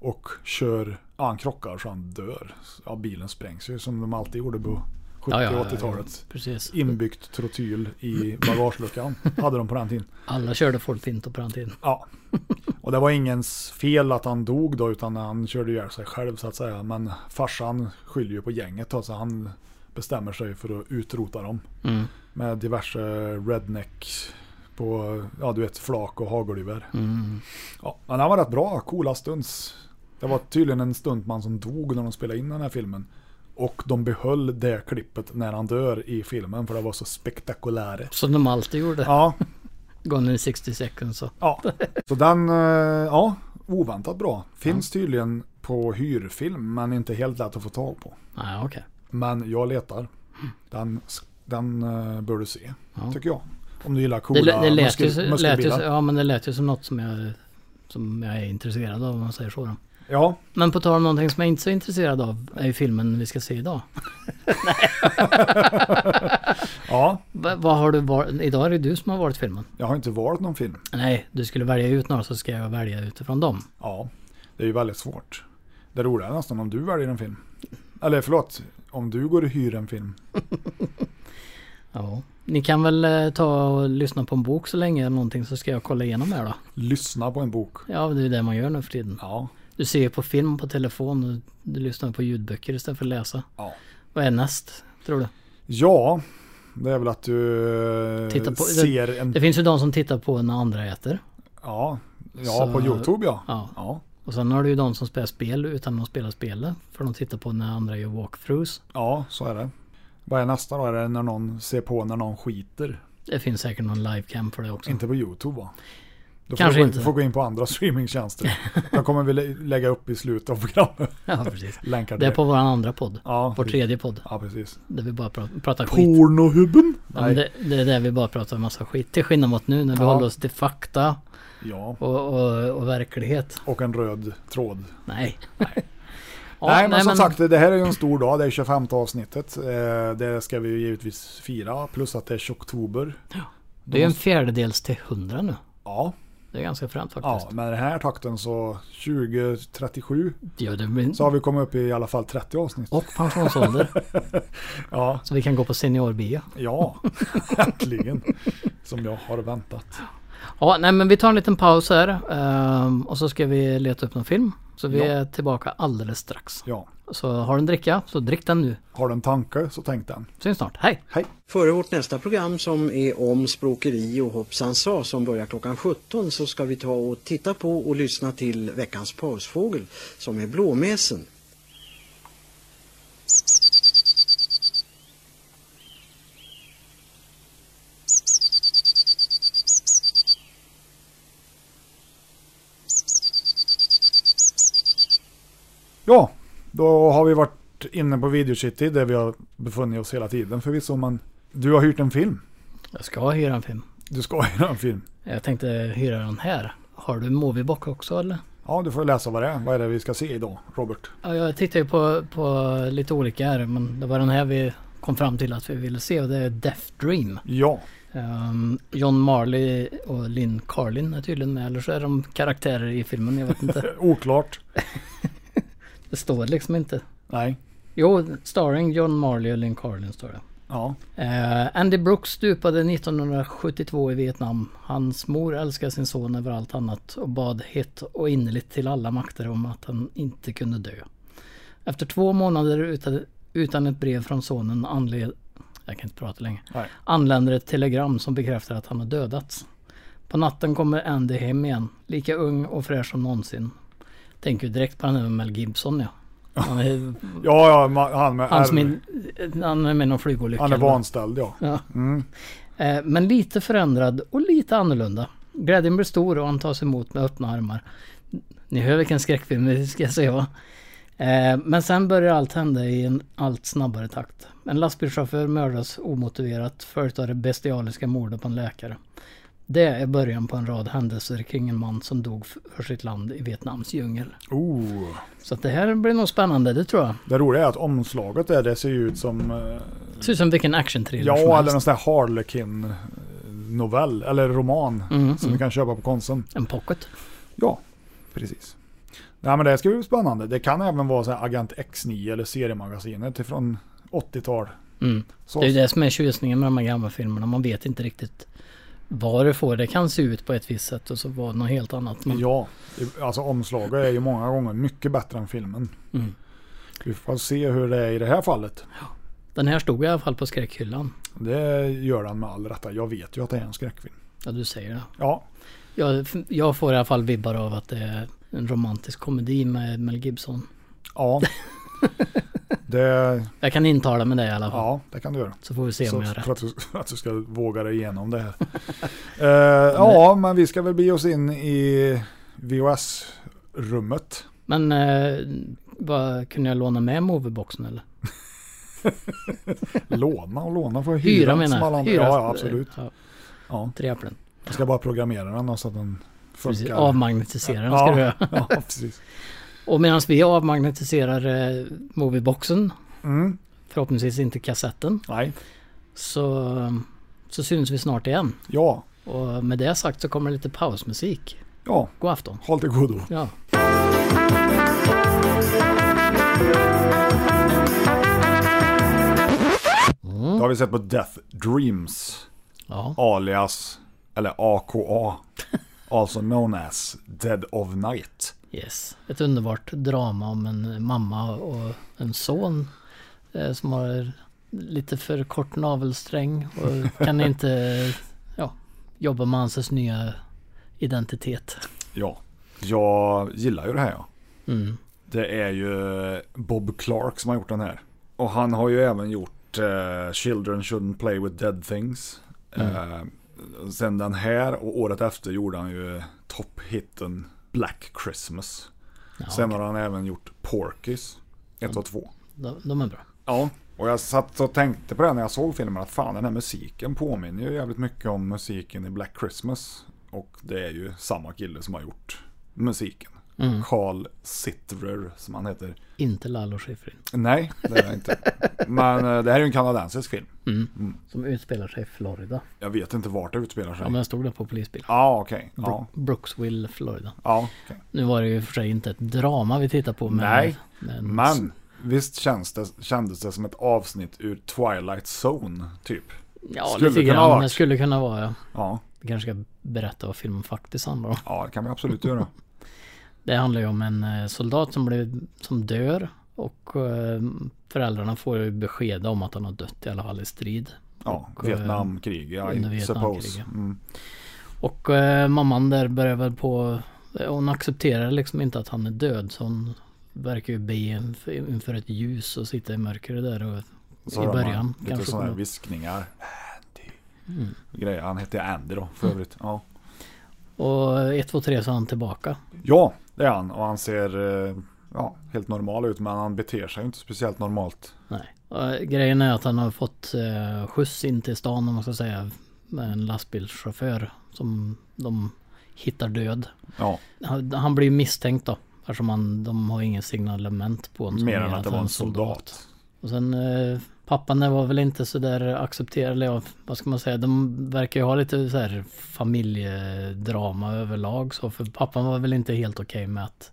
S3: Och kör, ja, han krockar så han dör. Ja, bilen sprängs ju som de alltid gjorde på 70
S4: Ja, ja, ja,
S3: 80-talet.
S4: Precis.
S3: Inbyggt trotyl i bagageluckan hade de på den tiden.
S4: Alla körde full fint på den tiden.
S3: Ja. Och det var ingens fel att han dog då, utan han körde ihjäl sig själv så att säga. Men farsan skyller ju på gänget då, så han bestämmer sig för att utrota dem.
S4: Mm.
S3: Med diverse redneck på, ja du vet, flak och hagelgevär.
S4: Mm.
S3: Ja, men han var rätt bra, coola stunts. Det var tydligen en stuntman som dog när de spelade in den här filmen. Och de behöll det klippet när han dör i filmen för det var så spektakulärt.
S4: Som de alltid gjorde.
S3: Ja,
S4: Gone in 60 seconds. Så.
S3: Ja, så den, eh, ja, oväntat bra. Finns tydligen på hyrfilm men inte helt lätt att få tag på.
S4: Nej, okej.
S3: Men jag letar. Den, den eh, bör du se,
S4: Ja.
S3: tycker jag. Om du gillar
S4: Det,
S3: coola
S4: lä- det lät, ju,
S3: muskel,
S4: så- lät ju,
S3: muskelbilar.
S4: så- ja, men det lät ju som något som jag, som jag är intresserad av om man säger så. Då.
S3: Ja,
S4: Men på tal om någonting som jag inte är så intresserad av är ju filmen vi ska se idag.
S3: ja,
S4: Va, vad har du var, idag är det du som har varit filmen.
S3: jag har inte valt någon film.
S4: Nej, du skulle välja ut några så ska jag välja utifrån dem.
S3: Ja, det är ju väldigt svårt. Det roliga är nästan om du väljer en film. Eller förlåt, om du går och hyr en film.
S4: Ja. Ni kan väl eh, ta och lyssna på en bok så länge eller någonting så ska jag kolla igenom här då.
S3: Lyssna på en bok.
S4: Ja, det är ju det man gör nu för tiden.
S3: Ja,
S4: Du ser ju på film på telefon och du lyssnar på ljudböcker istället för att läsa.
S3: ja.
S4: Vad är näst, tror du?
S3: Ja, det är väl att du eh,
S4: Titta på-
S3: ser en...
S4: Det finns ju de som tittar på när andra äter.
S3: Ja, ja
S4: Så-
S3: på Youtube ja.
S4: Ja.
S3: Ja,
S4: Och sen har du ju de som spelar spel utan att spela spelet. För de tittar på när andra gör walkthroughs.
S3: ja så är det. Vad är nästa då? Är det när någon ser på när någon skiter?
S4: Det finns säkert någon livecam för det också.
S3: Inte på Youtube va? Då
S4: Kanske
S3: får du gå in,
S4: inte.
S3: får gå in på andra streamingtjänster. Jag kommer vi lä- lägga upp i slutet av programmet.
S4: Ja, precis.
S3: Länkar
S4: Det
S3: till
S4: är på vår andra podd.
S3: Ja,
S4: Vår
S3: precis.
S4: tredje podd.
S3: Ja, precis.
S4: Där vi bara pra- pratar skit.
S3: Pornohubben?
S4: Ja, men
S3: Nej.
S4: det, det är där vi bara pratar en massa skit. Till skillnad mot nu när vi
S3: Ja.
S4: håller oss till fakta
S3: Ja,
S4: och, och, och verklighet.
S3: och en röd tråd.
S4: Nej. nej, Ja,
S3: nej, men som sagt, det här är ju en stor dag. Det är 25 avsnittet. Eh, Det ska vi ju givetvis fira. Plus att det är tjocktober.
S4: Det är ju en fjärdedels till hundra nu.
S3: Ja,
S4: Det är ganska fränt faktiskt.
S3: ja, med den här takten så 2037
S4: Ja, det blir...
S3: Så har vi kommit upp i i alla fall 30 avsnitt.
S4: Och pensionsålder.
S3: Ja,
S4: så vi kan gå på seniorbio.
S3: ja, äntligen. Som jag har väntat.
S4: Ja, nej men vi tar en liten paus här. ehm, och så ska vi leta upp någon film. Så vi
S3: Ja.
S4: är tillbaka alldeles strax.
S3: Ja,
S4: Så har du en dricka, så drick den nu.
S3: har du en tanke så tänk den.
S4: Syns snart. Hej!
S11: Före vårt nästa program som är om språkeri och hoppsan sa som börjar klockan 17 så ska vi ta och titta på och lyssna till veckans pausfågel som är blåmesen.
S3: Ja, då har vi varit inne på Video City där vi har befunnit oss hela tiden förvisso. Men du har hyrt en film.
S4: Jag ska hyra en film.
S3: Du ska hyra en film.
S4: Jag tänkte hyra den här. Har du Moviebox också eller?
S3: Ja, du får läsa vad det är. Vad är det vi ska se idag, Robert?
S4: Ja, jag tittar ju på, på lite olika här men det var den här vi kom fram till att vi ville se och det är Death Dream.
S3: Ja,
S4: Ehm, John Marley och Lynn Carlin är tydligen med eller så är de karaktärer i filmen, jag vet inte.
S3: eh, oklart.
S4: Det står liksom inte.
S3: Nej.
S4: Jo, starring John Marley och Lynn Carlin står det.
S3: Ja,
S4: Eh, Andy Brooks stupade 1972 i Vietnam. Hans mor älskade sin son över allt annat och bad hett och innerligt till alla makter om att han inte kunde dö. Efter två månader utan, utan ett brev från sonen anled, jag kan inte prata längre,
S3: Nej.
S4: anländer ett telegram som bekräftar att han har dödats. På natten kommer Andy hem igen, lika ung och fräsch som någonsin. Tänker ju direkt på den här med Mel Gibson ja. Han är,
S3: Ja, ja, ma- han med
S4: han,
S3: R.
S4: som in, han är med i någon flygolycka.
S3: Han är
S4: eller vad?
S3: vanställd, ja.
S4: Ja.
S3: Mm.
S4: Eh, Men lite förändrad och lite annorlunda. Glädjen blir stor och han tas emot med öppna armar. Ni hör vilken skräckfilm vi ska se va? Eh, Men sen börjar allt hända i en allt snabbare takt. En lastbilschaufför mördas omotiverat följt av det bestialiska mordet på en läkare. Det är början på en rad händelser kring en man som dog för sitt land i Vietnams djungel.
S3: Oh.
S4: Så att det här blir nog spännande, det tror jag.
S3: Det roliga är att omslaget där, det ser ju ut som... eh,
S4: Det ser ut som vilken action-thriller som
S3: Ja,
S4: helst.
S3: eller någon sån här Harlequin-novell, eller roman.
S4: Mm,
S3: som
S4: mm.
S3: du kan köpa på Konsum.
S4: En pocket.
S3: Ja, precis. Nej men det ska bli spännande. Det kan även vara så här Agent X9 eller seriemagasinet från 80-tal.
S4: Mm.
S3: Så-
S4: Det är ju det som är tjusningen med de här gamla filmerna. Man vet inte riktigt vad det får. Det kan se ut på ett visst sätt och så var det något helt annat. Men
S3: Ja, det- alltså omslaget är ju många gånger mycket bättre än filmen.
S4: Mm.
S3: Vi får se hur det är i det här fallet.
S4: den här stod i alla fall på skräckhyllan.
S3: Det gör han med all rätta. Jag vet ju att det är en skräckfilm.
S4: Ja, du säger det.
S3: Ja.
S4: Jag, jag får i alla fall vibbar av att det är en romantisk komedi med Mel Gibson.
S3: Ja. det...
S4: Jag kan intala mig det i alla fall.
S3: Ja, det kan du göra.
S4: Så får vi se om jag har
S3: för att, du, att du ska våga dig igenom det här. Eh, ja, men vi ska väl bege oss in i VHS-rummet.
S4: Men eh, vad, kunde jag låna med movieboxen eller?
S3: Låna och låna för
S4: Hyra
S3: hyra.
S4: menar
S3: som
S4: jag.
S3: alla andra.
S4: Hyra. eh,
S3: Ja, ja, absolut.
S4: Ja.
S3: Ja.
S4: Tre äpplen.
S3: Jag ska bara programmera den då så att den funkar.
S4: Precis, avmagnetisera den ska
S3: ja,
S4: du göra.
S3: ja, precis.
S4: Och medan vi avmagnetiserar eh, movieboxen,
S3: Mm.
S4: förhoppningsvis inte kassetten,
S3: Nej.
S4: Så, så syns vi snart igen.
S3: Ja.
S4: Och med det sagt så kommer lite pausmusik.
S3: Ja.
S4: God afton.
S3: Håll till godo.
S4: Ja.
S3: Då har vi sett på Death Dreams. Alias, eller AKA. also alltså known as Dead of Night.
S4: Yes. Ett underbart drama om en mamma och en son eh, som har lite för kort navelsträng och kan inte ja, jobba med hans nya identitet.
S3: Ja. Jag gillar ju det här ja.
S4: Mm.
S3: Det är ju Bob Clark som har gjort den här. Och han har ju även gjort eh, Children Shouldn't Play With Dead Things. Eh, sen den här och året efter gjorde han ju topphitten Black Christmas. sen har han även gjort Porkys 1 och 2.
S4: De, de är bra.
S3: Ja. Och jag satt och tänkte på det när jag såg filmen att fan den här musiken påminner ju jävligt mycket om musiken i Black Christmas. Och det är ju samma kille som har gjort musiken.
S4: Mm.
S3: Carl Sitterer som han heter.
S4: Inte Lalo Schifrin.
S3: Nej, det är det inte. Men eh, det här är ju en kanadensisk film.
S4: Mm. Som utspelar sig i Florida.
S3: Jag vet inte vart det utspelar sig.
S4: Ja men jag stod där på polisbil.
S3: Ja, okej.
S4: Bro-
S3: Ja,
S4: Brooksville, Florida.
S3: ja, okej.
S4: Nu var det ju för sig inte ett drama vi tittar på. Men,
S3: Nej,
S4: men,
S3: men visst känns det, kändes det som ett avsnitt ur Twilight Zone, typ.
S4: ja,
S3: skulle
S4: lite
S3: kunna
S4: grann.
S3: ha varit.
S4: Det skulle kunna vara. Ja.
S3: Ja,
S4: Vi kanske ska berätta vad filmen faktiskt handlar om.
S3: ja det kan vi absolut göra.
S4: Det handlar ju om en eh, soldat som, blir, som dör. Och eh, föräldrarna får ju besked om att han har dött i alla fall i strid.
S3: Ja,
S4: Och, eh,
S3: Vietnamkrig,
S4: under
S3: I
S4: Vietnamkriget.
S3: suppose. Mm.
S4: Och eh, mamman där börjar väl på... Hon accepterar liksom inte att han är död. Så hon verkar ju be inf- inför ett ljus och sitta i mörkret där. Och,
S3: Så
S4: I
S3: hör man
S4: början
S3: Lite
S4: kanske.
S3: sådana här
S4: kommer-
S3: viskningar. Andy.
S4: Mm.
S3: Grejer. Han hette Andy då, för övrigt. Ja.
S4: Och ett, två, tre så är han tillbaka.
S3: Ja, det är han. Och han ser eh, ja, helt normal ut, men han beter sig ju inte speciellt normalt.
S4: Nej. Och grejen är att han har fått eh, skjuts in till stan om man ska säga. Med en lastbilschaufför som de hittar död.
S3: Ja,
S4: Han, han blir misstänkt då. Eftersom han, de har ingen signalement på honom. som
S3: mer
S4: är
S3: än att det
S4: han
S3: var
S4: är
S3: en soldat.
S4: Och sen eh, pappan där var väl inte så där accepterad. Eller ja, vad ska man säga. De verkar ju ha lite så här familjedrama överlag. Så, för pappan var väl inte helt okej med att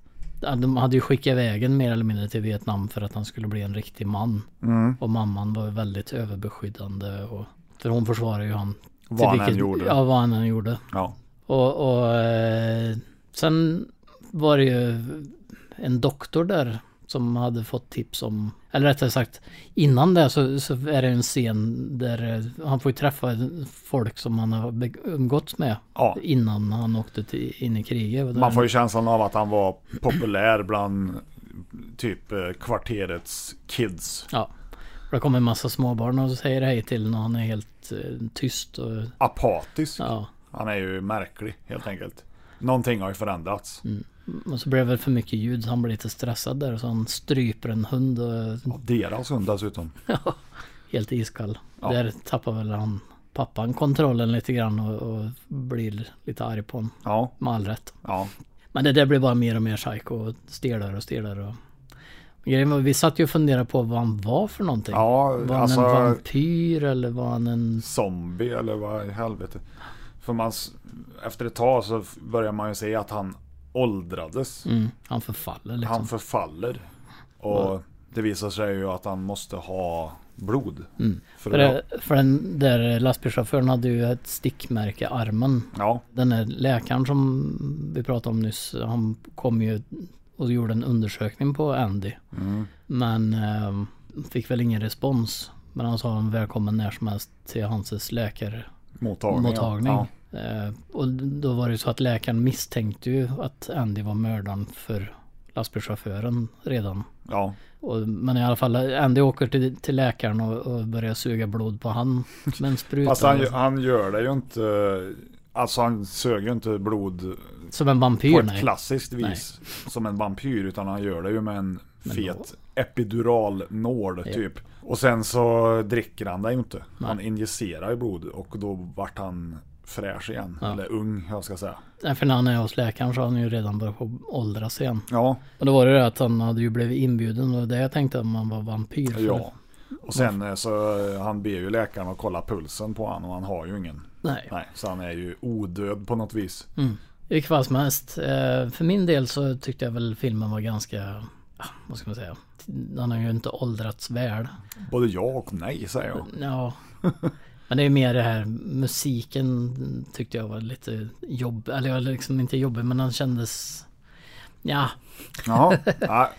S4: de hade ju skickat iväg en mer eller mindre till Vietnam för att han skulle bli en riktig man.
S3: Mm.
S4: Och mamman var ju väldigt överbeskyddande. Och, för hon försvarade ju han.
S3: Vad
S4: till
S3: han än gjorde.
S4: Ja, vad han än gjorde.
S3: Ja.
S4: Och, och eh, sen var det ju en doktor där Som hade fått tips om, eller rättare sagt innan det så, så är det en scen där eh, han får ju träffa folk som han har be- umgåtts med innan han åkte till, in i kriget. Och där-
S3: Man får ju känslan av att han var populär bland typ eh, kvarterets kids.
S4: Ja. Och det kommer en massa småbarn och säger hej till när han är helt eh, tyst och...
S3: Apatisk.
S4: Ja.
S3: Han är ju märklig helt enkelt. Någonting har ju förändrats.
S4: Mm. Och så blev det väl för mycket ljud så han blir lite stressad där så han stryper en hund och...
S3: deras hund dessutom.
S4: Ja, helt iskall.
S3: Ja.
S4: Där tappar väl han pappan kontrollen lite grann och, och blir lite arg på honom.
S3: Ja.
S4: Med all rätt.
S3: Ja.
S4: Men det där blir bara mer och mer psycho och stelare och stelare. Och... Grejen var, vi satt ju och funderade på vad han var för någonting.
S3: Ja,
S4: var han
S3: alltså-
S4: en vampyr eller var han en...
S3: Zombie eller vad i helvete. För man, s- efter ett tag så f- börjar man ju se att han åldrades.
S4: Mm, han förfaller liksom.
S3: Han förfaller. Och det visar sig ju att han måste ha blod.
S4: Mm.
S3: För
S4: För,
S3: att-
S4: det, för den där lastbilschauffören hade ju ett stickmärke i armen.
S3: Ja.
S4: Den där läkaren som vi pratade om nyss, han kom ju och gjorde en undersökning på Andy.
S3: Mm.
S4: Men eh, fick väl ingen respons. Men han sa en välkommen när som helst till Hanses läkarmottagning.
S3: Mottagning, ja.
S4: Eh, och då var det ju så att läkaren misstänkte ju att Andy var mördaren för lastbilschauffören redan.
S3: Ja.
S4: Och, men i alla fall, Andy åker till, till läkaren och, och börjar suga blod på han med en spruta.
S3: Fast han, han gör det ju inte. Alltså han sög ju inte blod.
S4: Som en vampyr,
S3: På ett
S4: nej.
S3: klassiskt vis. Som en vampyr. Utan han gör det ju med en fet epidural nål
S4: Ja.
S3: typ. Och sen så dricker han det ju inte. Han injicerar ju blod. Och då vart han fräsch igen. Eller ung, jag ska säga.
S4: Nej, för när han är hos läkaren så har han ju redan börjat på att åldras igen.
S3: Ja.
S4: Och då var det det att han hade ju blivit inbjuden och det jag tänkte att man var vampyr. för.
S3: Ja. Och sen eh, så eh, han ber ju läkaren att kolla pulsen på han och han har ju ingen.
S4: Nej.
S3: så han är ju odöd på något vis.
S4: Mm. I vilket fall som helst, eh, för min del så tyckte jag väl filmen var ganska, ah, vad ska man säga, den har ju inte åldrats väl.
S3: Både ja och nej säger jag.
S4: Ja. Men det är mer det här musiken tyckte jag var lite jobb eller jag liksom inte jobbig men den kändes, ja.
S3: Jaha. Ja.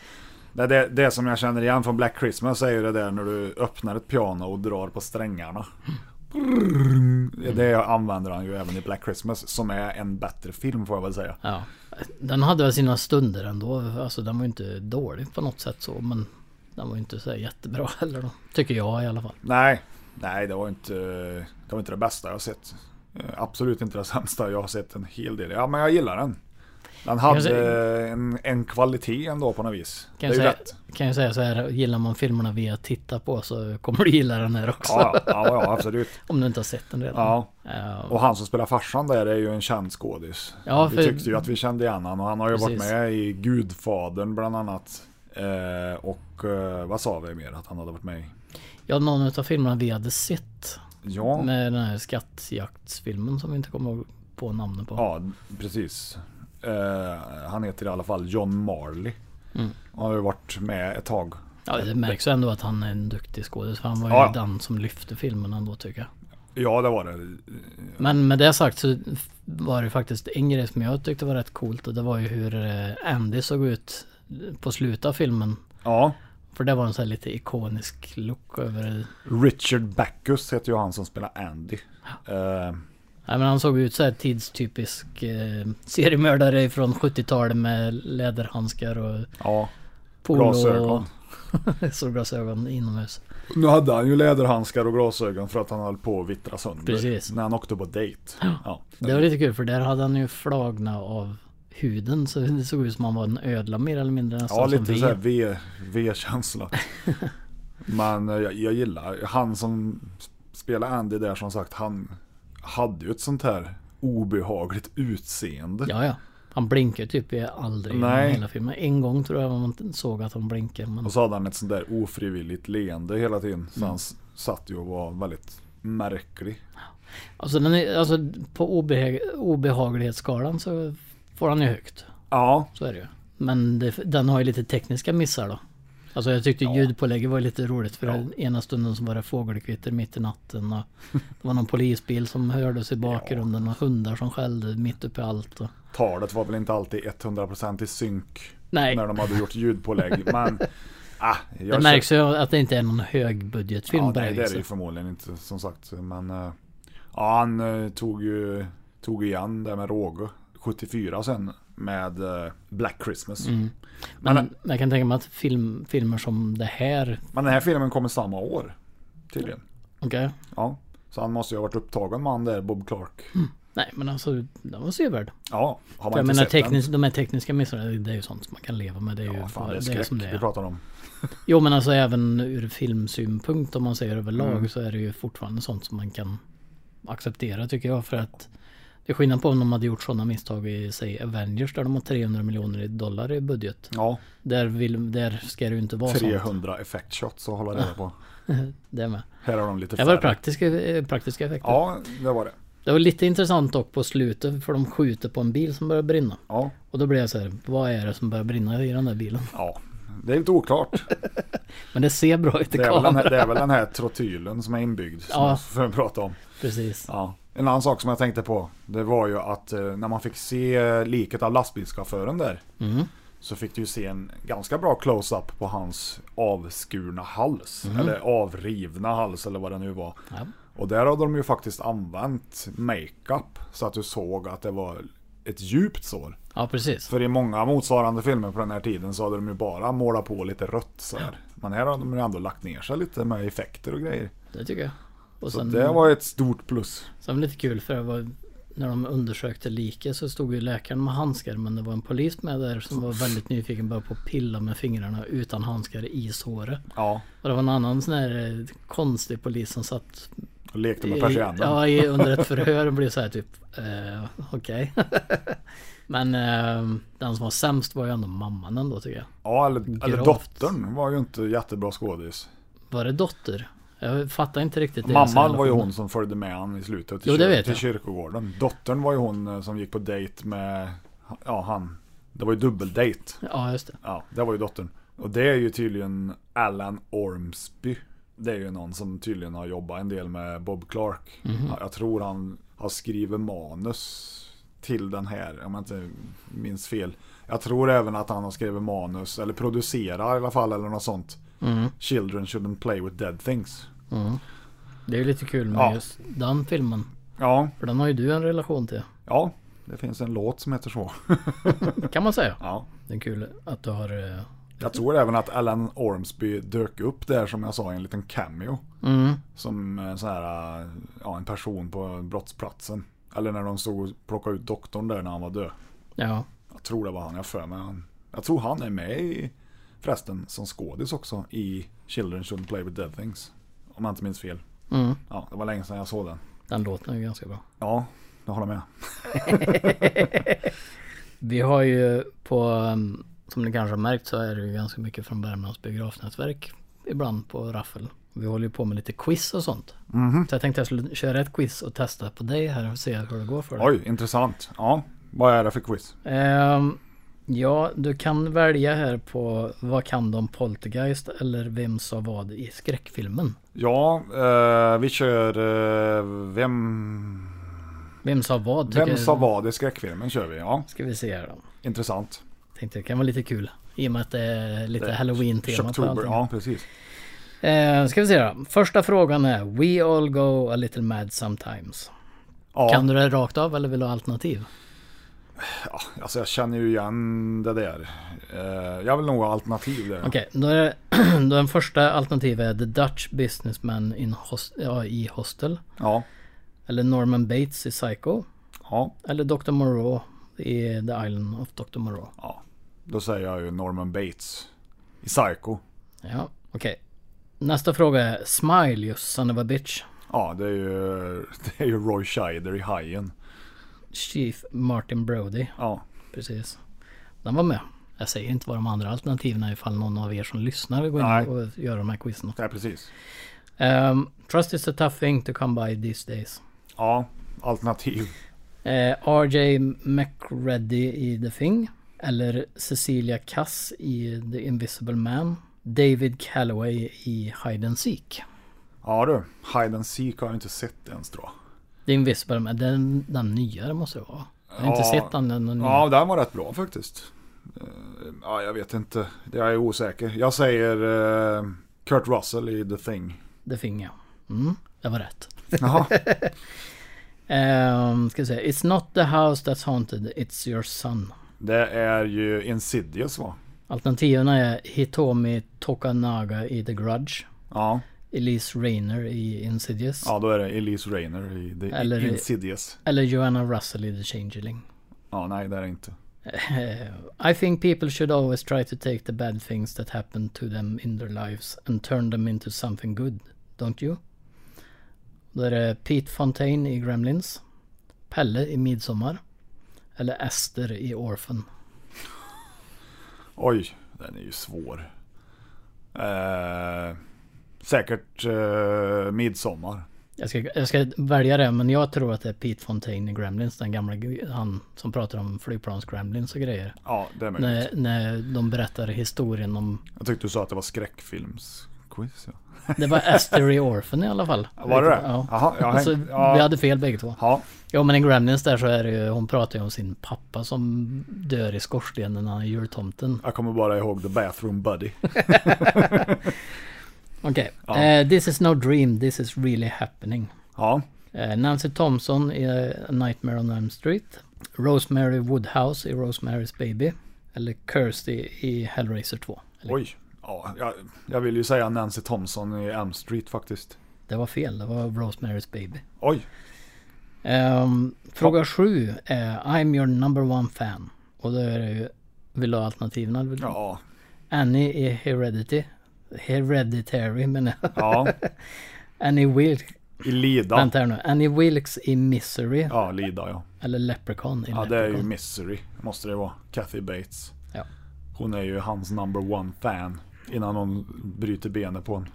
S3: Det, det, det som jag känner igen från Black Christmas är ju det där när du öppnar ett piano och drar på strängarna.
S4: Mm.
S3: Det använder han ju även i Black Christmas som är en bättre film får jag väl säga.
S4: Ja. Den hade väl sina stunder ändå. Alltså den var ju inte dålig på något sätt så. Men den var ju inte så här jättebra heller då. Tycker jag i alla fall.
S3: Nej, nej det, var inte, det var inte det bästa jag har sett. Eh, Absolut inte det sämsta. Jag har sett en hel del. Ja, men jag gillar den. Den hade
S4: Jag säger-
S3: en, en kvalitet ändå på något vis.
S4: Kan
S3: det
S4: jag,
S3: är ju
S4: säga,
S3: rätt.
S4: kan jag säga så här. Gillar man filmerna vi har tittat på så kommer du gilla den här också.
S3: Ja, ja, ja, absolut.
S4: Om du inte har sett den redan.
S3: Ja.
S4: Ja.
S3: Och han som spelar farsan där är ju en känd skådis.
S4: Ja,
S3: Vi
S4: för-
S3: tyckte ju att vi kände igen honom och han har ju varit
S4: Precis.
S3: med i Gudfadern bland annat. Eh, och eh, vad sa vi mer att han hade varit med i?
S4: Ja, någon av filmerna vi hade sett.
S3: Ja.
S4: Med den här skattjaktsfilmen som vi inte kommer ihåg på namnet på.
S3: Ja, precis. Eh, han heter i alla fall John Marley.
S4: Mm.
S3: Han har ju varit med ett tag.
S4: Ja, det märks ju ändå att han är en duktig skådis. för Han var ju
S3: Ja, ja.
S4: den som lyfte filmen ändå tycker jag.
S3: Ja, det var det.
S4: Men med det sagt så var det faktiskt en grej som jag tyckte var rätt coolt och det var ju hur eh, Andy såg ut på slutet av filmen.
S3: Ja.
S4: För det var en sån här lite ikonisk look över... eh,
S3: Richard Backus heter ju han som spelar Andy. Eh,
S4: Nej men han såg ut så här tidstypisk eh, seriemördare från 70-talet med läderhandskar och...
S3: Ja.
S4: Polo
S3: Glasögon.
S4: och solglasögon inomhus.
S3: nu hade han ju läderhandskar och glasögon för att han höll på att vittra sönder.
S4: Precis.
S3: När han åkte på dejt. Ja.
S4: Det var lite kul för där hade han ju flagna av huden så det såg ut som han var en ödla mer eller mindre. nästan
S3: Ja,
S4: som
S3: lite
S4: vi.
S3: såhär V- V-känsla. Men eh, jag, jag gillar, han som spelar Andy där som sagt, han hade ju ett sånt här obehagligt utseende.
S4: Ja, ja. Han blinkar typ i aldrig
S3: Nej.
S4: i hela filmen. En gång tror jag man såg att han blinkade. Men...
S3: Och så hade han ett sånt där ofrivilligt leende hela tiden. Så
S4: Mm.
S3: han s- satt ju och var väldigt märklig.
S4: Alltså, den är, alltså på obehag, obehaglighetsskalan så får han ju högt.
S3: Ja.
S4: Så är det ju. Men det, den har ju lite tekniska missar då. Alltså jag tyckte ljudpålägget var lite roligt för ena stunden så var det fågelkvitter mitt i natten och det var någon polisbil som hördes i bakgrunden och hundar som skällde mitt uppe i allt. Och...
S3: talet var väl inte alltid 100% i synk
S4: Nej.
S3: när de hade gjort ljudpålägg. Men ah,
S4: Det märks liksom. ju att det inte är någon högbudgetfilm
S3: ja,
S4: på
S3: nej, det är det ju
S4: viset.
S3: förmodligen inte som sagt. Men eh, ja, han eh, tog ju tog igen det med råge. 74 sen med eh, Black Christmas. eh,
S4: Mm. Men, jag kan tänka mig att film, filmer som det här,
S3: Men den här filmen kommer samma år. Tydligen.
S4: okej.
S3: Ja. Så han måste ju ha varit upptagen med han där Bob Clark.
S4: Nej men alltså, den var sevärd.
S3: Ja, har man
S4: För Mm.
S3: inte
S4: jag menar
S3: sett den?
S4: teknis- de här tekniska missarna, det det är ju sånt som man kan leva med. Det är ju
S3: Fan, det är
S4: är
S3: skräck
S4: som det
S3: vi
S4: är.
S3: pratar om.
S4: Jo men alltså även ur filmsynpunkt om man säger överlag
S3: Mm.
S4: så är det ju fortfarande sånt som man kan acceptera tycker jag. För att det är skillnad på om de hade gjort sådana misstag i säg Avengers där de har 300 miljoner dollar i budget.
S3: Ja.
S4: Där, vill, där ska det ju inte vara sånt.
S3: 300 effect shots att hålla reda på.
S4: det med.
S3: Här har de lite
S4: Det var
S3: färre.
S4: praktiska, eh, praktiska effekter.
S3: Ja, det var det.
S4: Det var lite intressant dock på slutet för de skjuter på en bil som börjar brinna.
S3: Ja.
S4: Och då blev jag så här, vad är det som börjar brinna i den där bilen?
S3: Ja, det är lite oklart.
S4: Men det ser bra ut i
S3: Det är, väl den här,
S4: kameran.
S3: det är väl den här trotylen som är inbyggd som
S4: Ja.
S3: jag får prata om.
S4: Precis.
S3: Ja. En annan sak som jag tänkte på, det var ju att eh, när man fick se eh, liket av lastbilschauffören där
S4: Mm.
S3: så fick du ju se en ganska bra close-up på hans avskurna hals.
S4: Mm.
S3: Eller avrivna hals eller vad det nu var.
S4: Ja.
S3: Och där hade de ju faktiskt använt makeup så att du såg att det var ett djupt sår.
S4: Ja precis.
S3: För i många motsvarande filmer på den här tiden så hade de ju bara målat på lite rött så här. Men här har de ju ändå lagt ner sig lite med effekter och grejer.
S4: Det tycker jag. Och
S3: så
S4: sen,
S3: det var ett stort plus.
S4: sen var det lite kul för det var, när de undersökte liket så stod ju läkaren med handskar men det var en polis med där som var väldigt nyfiken bara på att pilla med fingrarna utan handskar i såret.
S3: Ja.
S4: Och det var en annan sån här eh, konstig polis som satt
S3: Och lekte med
S4: i-
S3: persiennen.
S4: Ja, i, under ett förhör och blev så här typ eh, okej. men eh, den som var sämst var ju ändå mamman ändå tycker jag.
S3: Ja, eller, eller
S4: Gravt.
S3: dottern var ju inte jättebra skådis.
S4: Var det dotter? Jag fattar inte riktigt deras
S3: Mamman var ju
S4: relation.
S3: hon som följde med han i slutet till,
S4: Jo, det
S3: kyr-
S4: vet
S3: till
S4: jag.
S3: kyrkogården. Dottern var ju hon eh, som gick på dejt med, ja han, det var ju dubbeldejt.
S4: Ja, just det.
S3: Ja, det var ju dottern. Och det är ju tydligen Alan Ormsby. Det är ju någon som tydligen har jobbat en del med Bob Clark.
S4: Mhm.
S3: Ja, Jag tror han har skrivit manus till den här, om jag inte minns fel. Jag tror även att han har skrivit manus, eller producerar i alla fall, eller något sånt.
S4: Mm.
S3: Children shouldn't play with dead things.
S4: Mm. Det är ju lite kul med
S3: Ja.
S4: just den filmen.
S3: Ja,
S4: För den har ju du en relation till.
S3: ja. Det finns en låt som heter så.
S4: Kan man säga.
S3: Ja.
S4: Det är kul att du har... eh,
S3: Jag tror även att Alan Ormsby dök upp där som jag sa i en liten cameo.
S4: Mm.
S3: Som eh, så här, eh, ja, en person på brottsplatsen. Eller när de stod och plockade ut doktorn där när han var död.
S4: Ja.
S3: Jag tror det var han, jag har för mig. han- Jag tror han är med i, förresten, som skådis också i Children Shouldn't Play With Dead Things. Om jag inte minns fel.
S4: Mm.
S3: Ja, det var länge sedan jag såg den.
S4: Den låten är ju ganska bra.
S3: Ja, jag håller med.
S4: Vi har ju på... um, Som ni kanske har märkt så är det ju ganska mycket från Värmlands biografnätverk. Ibland på Raffel. Vi håller ju på med lite quiz och sånt.
S3: Mhm.
S4: Så jag tänkte jag skulle köra ett quiz och testa på dig här och se hur det går för dig.
S3: Oj, intressant. Ja, vad är det för quiz?
S4: Ehm, ja, du kan välja här på vad kan de Poltergeist eller vem sa vad i skräckfilmen?
S3: Ja, eh, vi kör eh, Vem,
S4: Vem sa vad? tycker
S3: vem sa
S4: jag.
S3: vad i skräckfilmen kör vi. Ja,
S4: Ska vi se här då.
S3: intressant.
S4: Tänkte det kan vara lite kul. I och med att det är lite
S3: Det-
S4: halloween-tema på
S3: Shocktober,
S4: allting.
S3: ja precis.
S4: Ehm, ska vi se då. Första frågan är We all go a little mad sometimes.
S3: Ja.
S4: Kan du det rakt av eller vill du ha alternativ?
S3: Alltså jag känner ju igen det där. Eh, Jag vill nog ha alternativ där.
S4: Okej, då är det, då den första alternativet är The Dutch Businessman in host, ja, i Hostel.
S3: Ja.
S4: Eller Norman Bates i Psycho.
S3: Ja.
S4: Eller Dr. Moreau i The Island of Dr. Moreau.
S3: ja. Då säger jag ju Norman Bates. I Psycho.
S4: Ja, okej. Nästa fråga är Smile you son of a bitch.
S3: Ja, det är ju, det är ju Roy Scheider i Hajen.
S4: Chief Martin Brody.
S3: Ja.
S4: Precis. Den var med. Jag säger inte vad de andra alternativen är ifall någon av er som lyssnar vill gå in
S3: Nej.
S4: och göra de här quizen också.
S3: Ja, precis.
S4: Ehm, Trust is a tough thing to come by these days.
S3: Ja, alternativ.
S4: Eh, RJ McReady i The Thing. Eller Cecilia Cass i The Invisible Man. David Calloway i Hide and Seek.
S3: Ja du, Hide and Seek har jag inte sett ens tror jag.
S4: The Invisible Man, den, den nyare måste det vara. Jag har inte sett den. den, den
S3: Ja, den var rätt bra faktiskt. Eh, Ja, jag vet inte. Jag är osäker. Jag säger eh, Kurt Russell i The Thing.
S4: The Thing ja. Mm, det var rätt.
S3: Jaha.
S4: um, ska vi se. It's not the house that's haunted, it's your son.
S3: Det är ju Insidious va?
S4: Alternativen är Hitomi Tokanaga i The Grudge.
S3: Ja.
S4: Elise Rayner i Insidious.
S3: Ja, då är det Elise Rayner i The
S4: Eller-
S3: Insidious.
S4: Eller Joanna Russell i The Changeling.
S3: Ja, nej det är det inte.
S4: I think people should always try to take the bad things that happen to them in their lives and turn them into something good, don't you? Då är det Pete Fontaine i Gremlins. Pelle i Midsommar. Eller Esther i Orphan.
S3: Oj, den är ju svår. Eh, säkert eh, midsommar.
S4: Jag ska, jag ska välja det, men jag tror att det är Pete Fontaine i Gremlins, den gamla gu- han som pratar om flygplans-Gremlins och grejer.
S3: Ja, det är möjligt.
S4: när, när de berättar historien om...
S3: Jag tyckte du sa att det var skräckfilmsquiz. Ja.
S4: Det var Esther i Orphan i alla fall.
S3: Var det det?
S4: Ja.
S3: Jaha, ja,
S4: alltså,
S3: ja.
S4: Vi hade fel bägge två.
S3: Ja.
S4: ja, men i Gremlins där så är det ju, hon pratar ju om sin pappa som dör i skorstenen när han är jultomten.
S3: Jag kommer bara ihåg The Bathroom Buddy.
S4: Okej.
S3: Ja.
S4: Eh, this is no dream, this is really happening. Eh,
S3: Ja.
S4: Nancy Thompson i eh, Nightmare on Elm Street. Rosemary Woodhouse i Rosemary's Baby. Eller Kirsty i Hellraiser 2.
S3: Oj. Ja, jag, jag vill ju säga Nancy Thompson i Elm Street faktiskt.
S4: Det var fel, det var Rosemary's Baby.
S3: Oj.
S4: Ehm, fråga sju är I'm your number one fan. Och då är det ju, vill du ha alternativen? eller vill du-
S3: Ja.
S4: Annie i Heredity. Hereditary menar jag.
S3: Ja.
S4: Annie Wilkes.
S3: I Lida.
S4: Vänta här nu. Annie Wilkes i Misery.
S3: Ja, Lida ja.
S4: Eller Leprechaun i
S3: Ja, det är
S4: Leprechaun.
S3: ju Misery. Måste det vara. Kathy Bates.
S4: Ja.
S3: Hon är ju hans number one fan. Innan hon bryter benet på honom.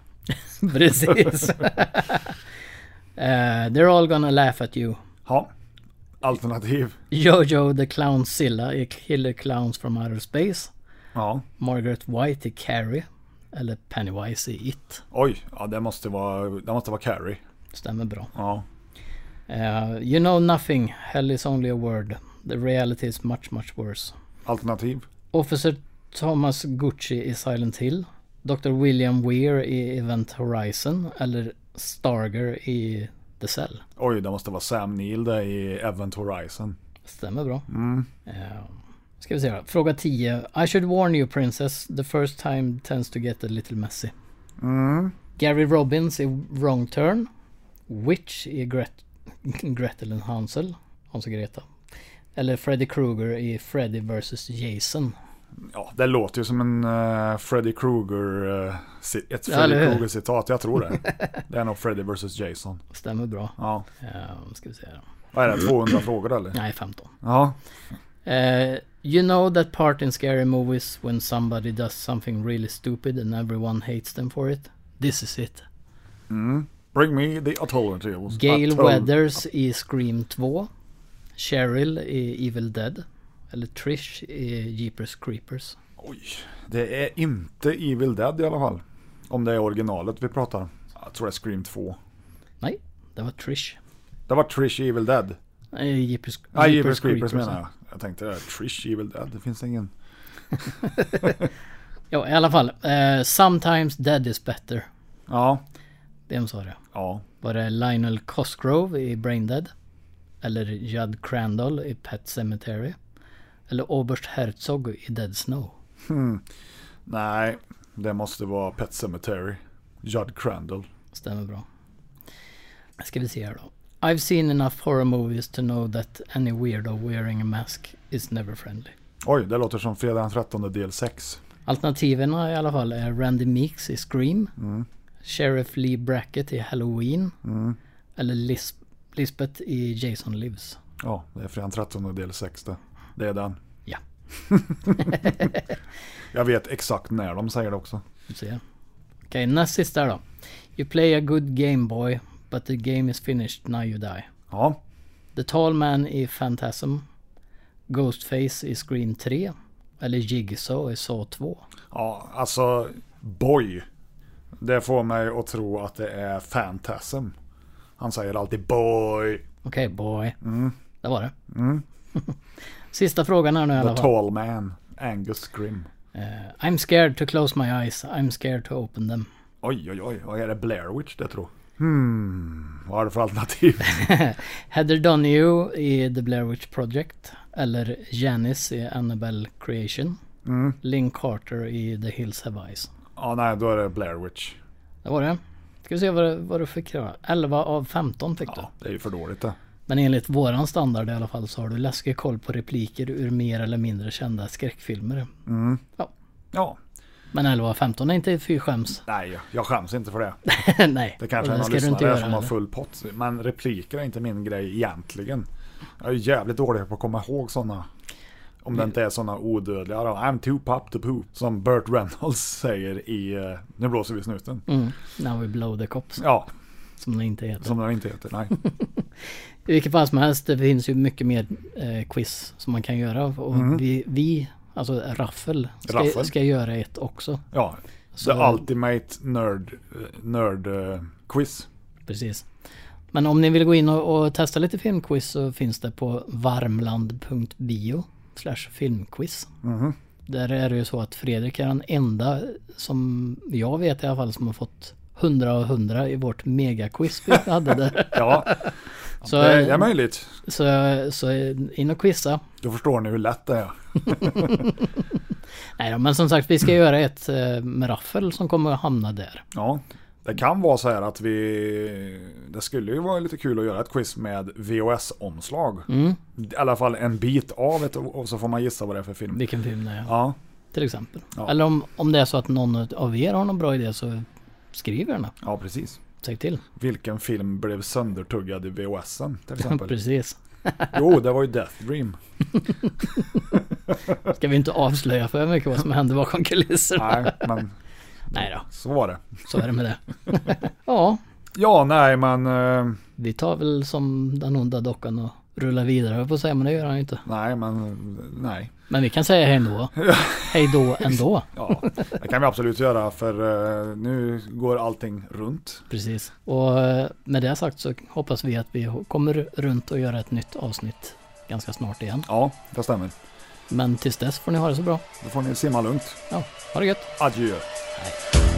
S4: Precis. Eh, they're all gonna laugh at you.
S3: Ja. Alternativ.
S4: Jojo the Clownzilla i Killer Clowns from Outer Space.
S3: Ja.
S4: Margaret White i Carrie. Eller Pennywise i It.
S3: Oj. Ja, det måste vara, det måste vara Carrie.
S4: Stämmer bra.
S3: Ja.
S4: Eh, you know nothing. Hell is only a word. The reality is much much worse.
S3: Alternativ.
S4: Officer Thomas Gucci i Silent Hill. Dr. William Weir i Event Horizon. Eller Starger i The Cell.
S3: Oj, det måste vara Sam Neill där i Event Horizon.
S4: Stämmer bra.
S3: Mm.
S4: Eh, ska vi se då. Fråga 10. I should warn you princess. The first time tends to get a little messy.
S3: Mm.
S4: Gary Robbins i Wrong Turn. Witch i Gret- Gretel and Hansel. Hans och Greta. Eller Freddy Krueger i Freddy vs Jason.
S3: Ja, det låter ju som en eh, Freddy Krueger, eh, ci- ett
S4: Ja,
S3: Freddy
S4: eller hur?
S3: Krueger-citat. Jag tror det. Det är nog Freddy vs Jason.
S4: Stämmer bra.
S3: Ja.
S4: Eh, ska vi se då.
S3: Vad är det, 200 frågor eller?
S4: Nej, 15.
S3: Ja.
S4: Eh, you know that part in scary movies when somebody does something really stupid and everyone hates them for it? This is it.
S3: Mm. Bring me the alternatives.
S4: Gail
S3: Atol-
S4: Weathers i Scream 2. Cheryl i Evil Dead. Eller Trish i Jeepers Creepers.
S3: Oj. Det är inte Evil Dead i alla fall. Om det är originalet vi pratar om. Jag tror det är Scream 2.
S4: Nej, det var Trish.
S3: Det var Trish i Evil Dead.
S4: Nej, Jeepers,
S3: Ja, Jeepers, Creepers, menar jag. Jag tänkte det. Trish i Evil Dead. Det finns ingen.
S4: Ja, i alla fall. Eh, Sometimes Dead is better.
S3: Ja.
S4: Vem sa det?
S3: Ja.
S4: Var det Lionel Cosgrove i Braindead? Eller Judd Crandall i Pet Cemetery? Eller Oberst Herzog i Dead Snow?
S3: Hmm. Nej, det måste vara Pet Cemetery. Judd Crandall.
S4: Stämmer bra. Ska vi se här då. I've seen enough horror movies to know that any weirdo wearing a mask is never friendly.
S3: Oj, det låter som Fredag den 13 del 6.
S4: Alternativen i alla fall är Randy Meeks i Scream,
S3: Mm.
S4: Sheriff Lee Brackett i Halloween
S3: Mm.
S4: eller Lis- Lisbeth i Jason Lives.
S3: Ja, det är Fredag den 13 del 6 det. Det är den.
S4: Ja.
S3: Jag vet exakt när de säger det också.
S4: Vi ser. Okej, näst sista då. You play a good game boy, but the game is finished now you die.
S3: Ja.
S4: The Tall Man i Phantasm, Ghostface i Scream 3 eller Jigsaw i Saw 2.
S3: Ja, alltså boy. Det får mig att tro att det är Fantasm. Han säger alltid boy.
S4: Okej, boy.
S3: Mm.
S4: Det var det.
S3: Mm.
S4: Sista frågan här nu i alla
S3: The
S4: fall.
S3: tall man, Angus Grim.
S4: Eh, I'm scared to close my eyes. I'm scared to open them.
S3: Oj, oj, oj. Vad är det Blair Witch det tror? Hmm, vad är det för alternativ?
S4: Heather Donahue i The Blair Witch Project. Eller Janice i Annabelle Creation.
S3: Mm.
S4: Link Carter i The Hills Have Eyes.
S3: Ja, nej, då är det Blair Witch.
S4: Det var det. Ska vi se vad, du- vad du fick då. 11 av 15 fick du.
S3: Det är ju för dåligt det.
S4: Men enligt våran standard i alla fall så har du läskig koll på repliker ur mer eller mindre kända skräckfilmer.
S3: Mm.
S4: Ja.
S3: Ja.
S4: Men 11 av 15 är inte fy skäms.
S3: Nej, jag skäms inte för det.
S4: Nej,
S3: Det kanske är
S4: och det
S3: någon
S4: ska du inte
S3: lyssnare
S4: göra
S3: som har
S4: heller.
S3: full pott. Men repliker är inte min grej egentligen. Jag är ju jävligt dålig på att komma ihåg sådana. Om det inte är sådana odödliga. då. I'm too pop to poop. Som Burt Reynolds säger i eh, Nu blåser vi snuten.
S4: Mm. Now we blow the cops.
S3: Ja.
S4: Som det inte heter.
S3: Som den inte heter, nej.
S4: I vilket fall som helst, det finns ju mycket mer eh, quiz som man kan göra. Och
S3: Mm.
S4: vi, vi, alltså Raffel, ska,
S3: Raffel.
S4: ska göra ett också.
S3: Ja,
S4: Så-
S3: The Ultimate Nerd, eh, nerd eh, Quiz.
S4: Precis. Men om ni vill gå in och, och testa lite filmquiz så finns det på varmland.bio slash filmquiz.
S3: Mhm.
S4: Där är det ju så att Fredrik är den enda som jag vet i alla fall som har fått 100 av 100 i vårt megaquiz vi hade där.
S3: Ja.
S4: Så,
S3: det är möjligt.
S4: Så, så in och quizza.
S3: Då förstår ni hur lätt det är.
S4: Nej då, men som sagt vi
S3: Mm.
S4: ska göra ett eh, med raffel som kommer att hamna där.
S3: Ja, det kan vara så här att vi... Det skulle ju vara lite kul att göra ett quiz med VHS-omslag.
S4: Mm.
S3: I alla fall en bit av ett och så får man gissa vad det är för film.
S4: Vilken film det är.
S3: Ja,
S4: Till exempel.
S3: Ja.
S4: Eller om, om det är så att någon av er har någon bra idé så skriv gärna.
S3: ja precis.
S4: Säg till.
S3: Vilken film blev söndertuggad i VHSen till exempel?
S4: Precis.
S3: Jo, det var ju Death Dream.
S4: Ska vi inte avslöja för mycket vad som hände bakom kulisserna?
S3: Nej, men
S4: Nej då,
S3: så var det.
S4: så är det med det. ja,
S3: Ja, nej men... eh,
S4: vi tar väl som den onda dockan och rullar vidare höll jag på att säga, men det gör han ju inte.
S3: Nej, men... Nej.
S4: Men vi kan säga hej då. Hej då ändå.
S3: Ja, det kan vi absolut göra för eh, nu går allting runt.
S4: Precis. Och eh, med det sagt så hoppas vi att vi kommer runt och göra ett nytt avsnitt ganska snart igen.
S3: Ja, det stämmer.
S4: Men tills dess får ni ha det så bra.
S3: Då får ni simma lugnt.
S4: Ja, ha det gött.
S3: Adjö.
S4: Hej.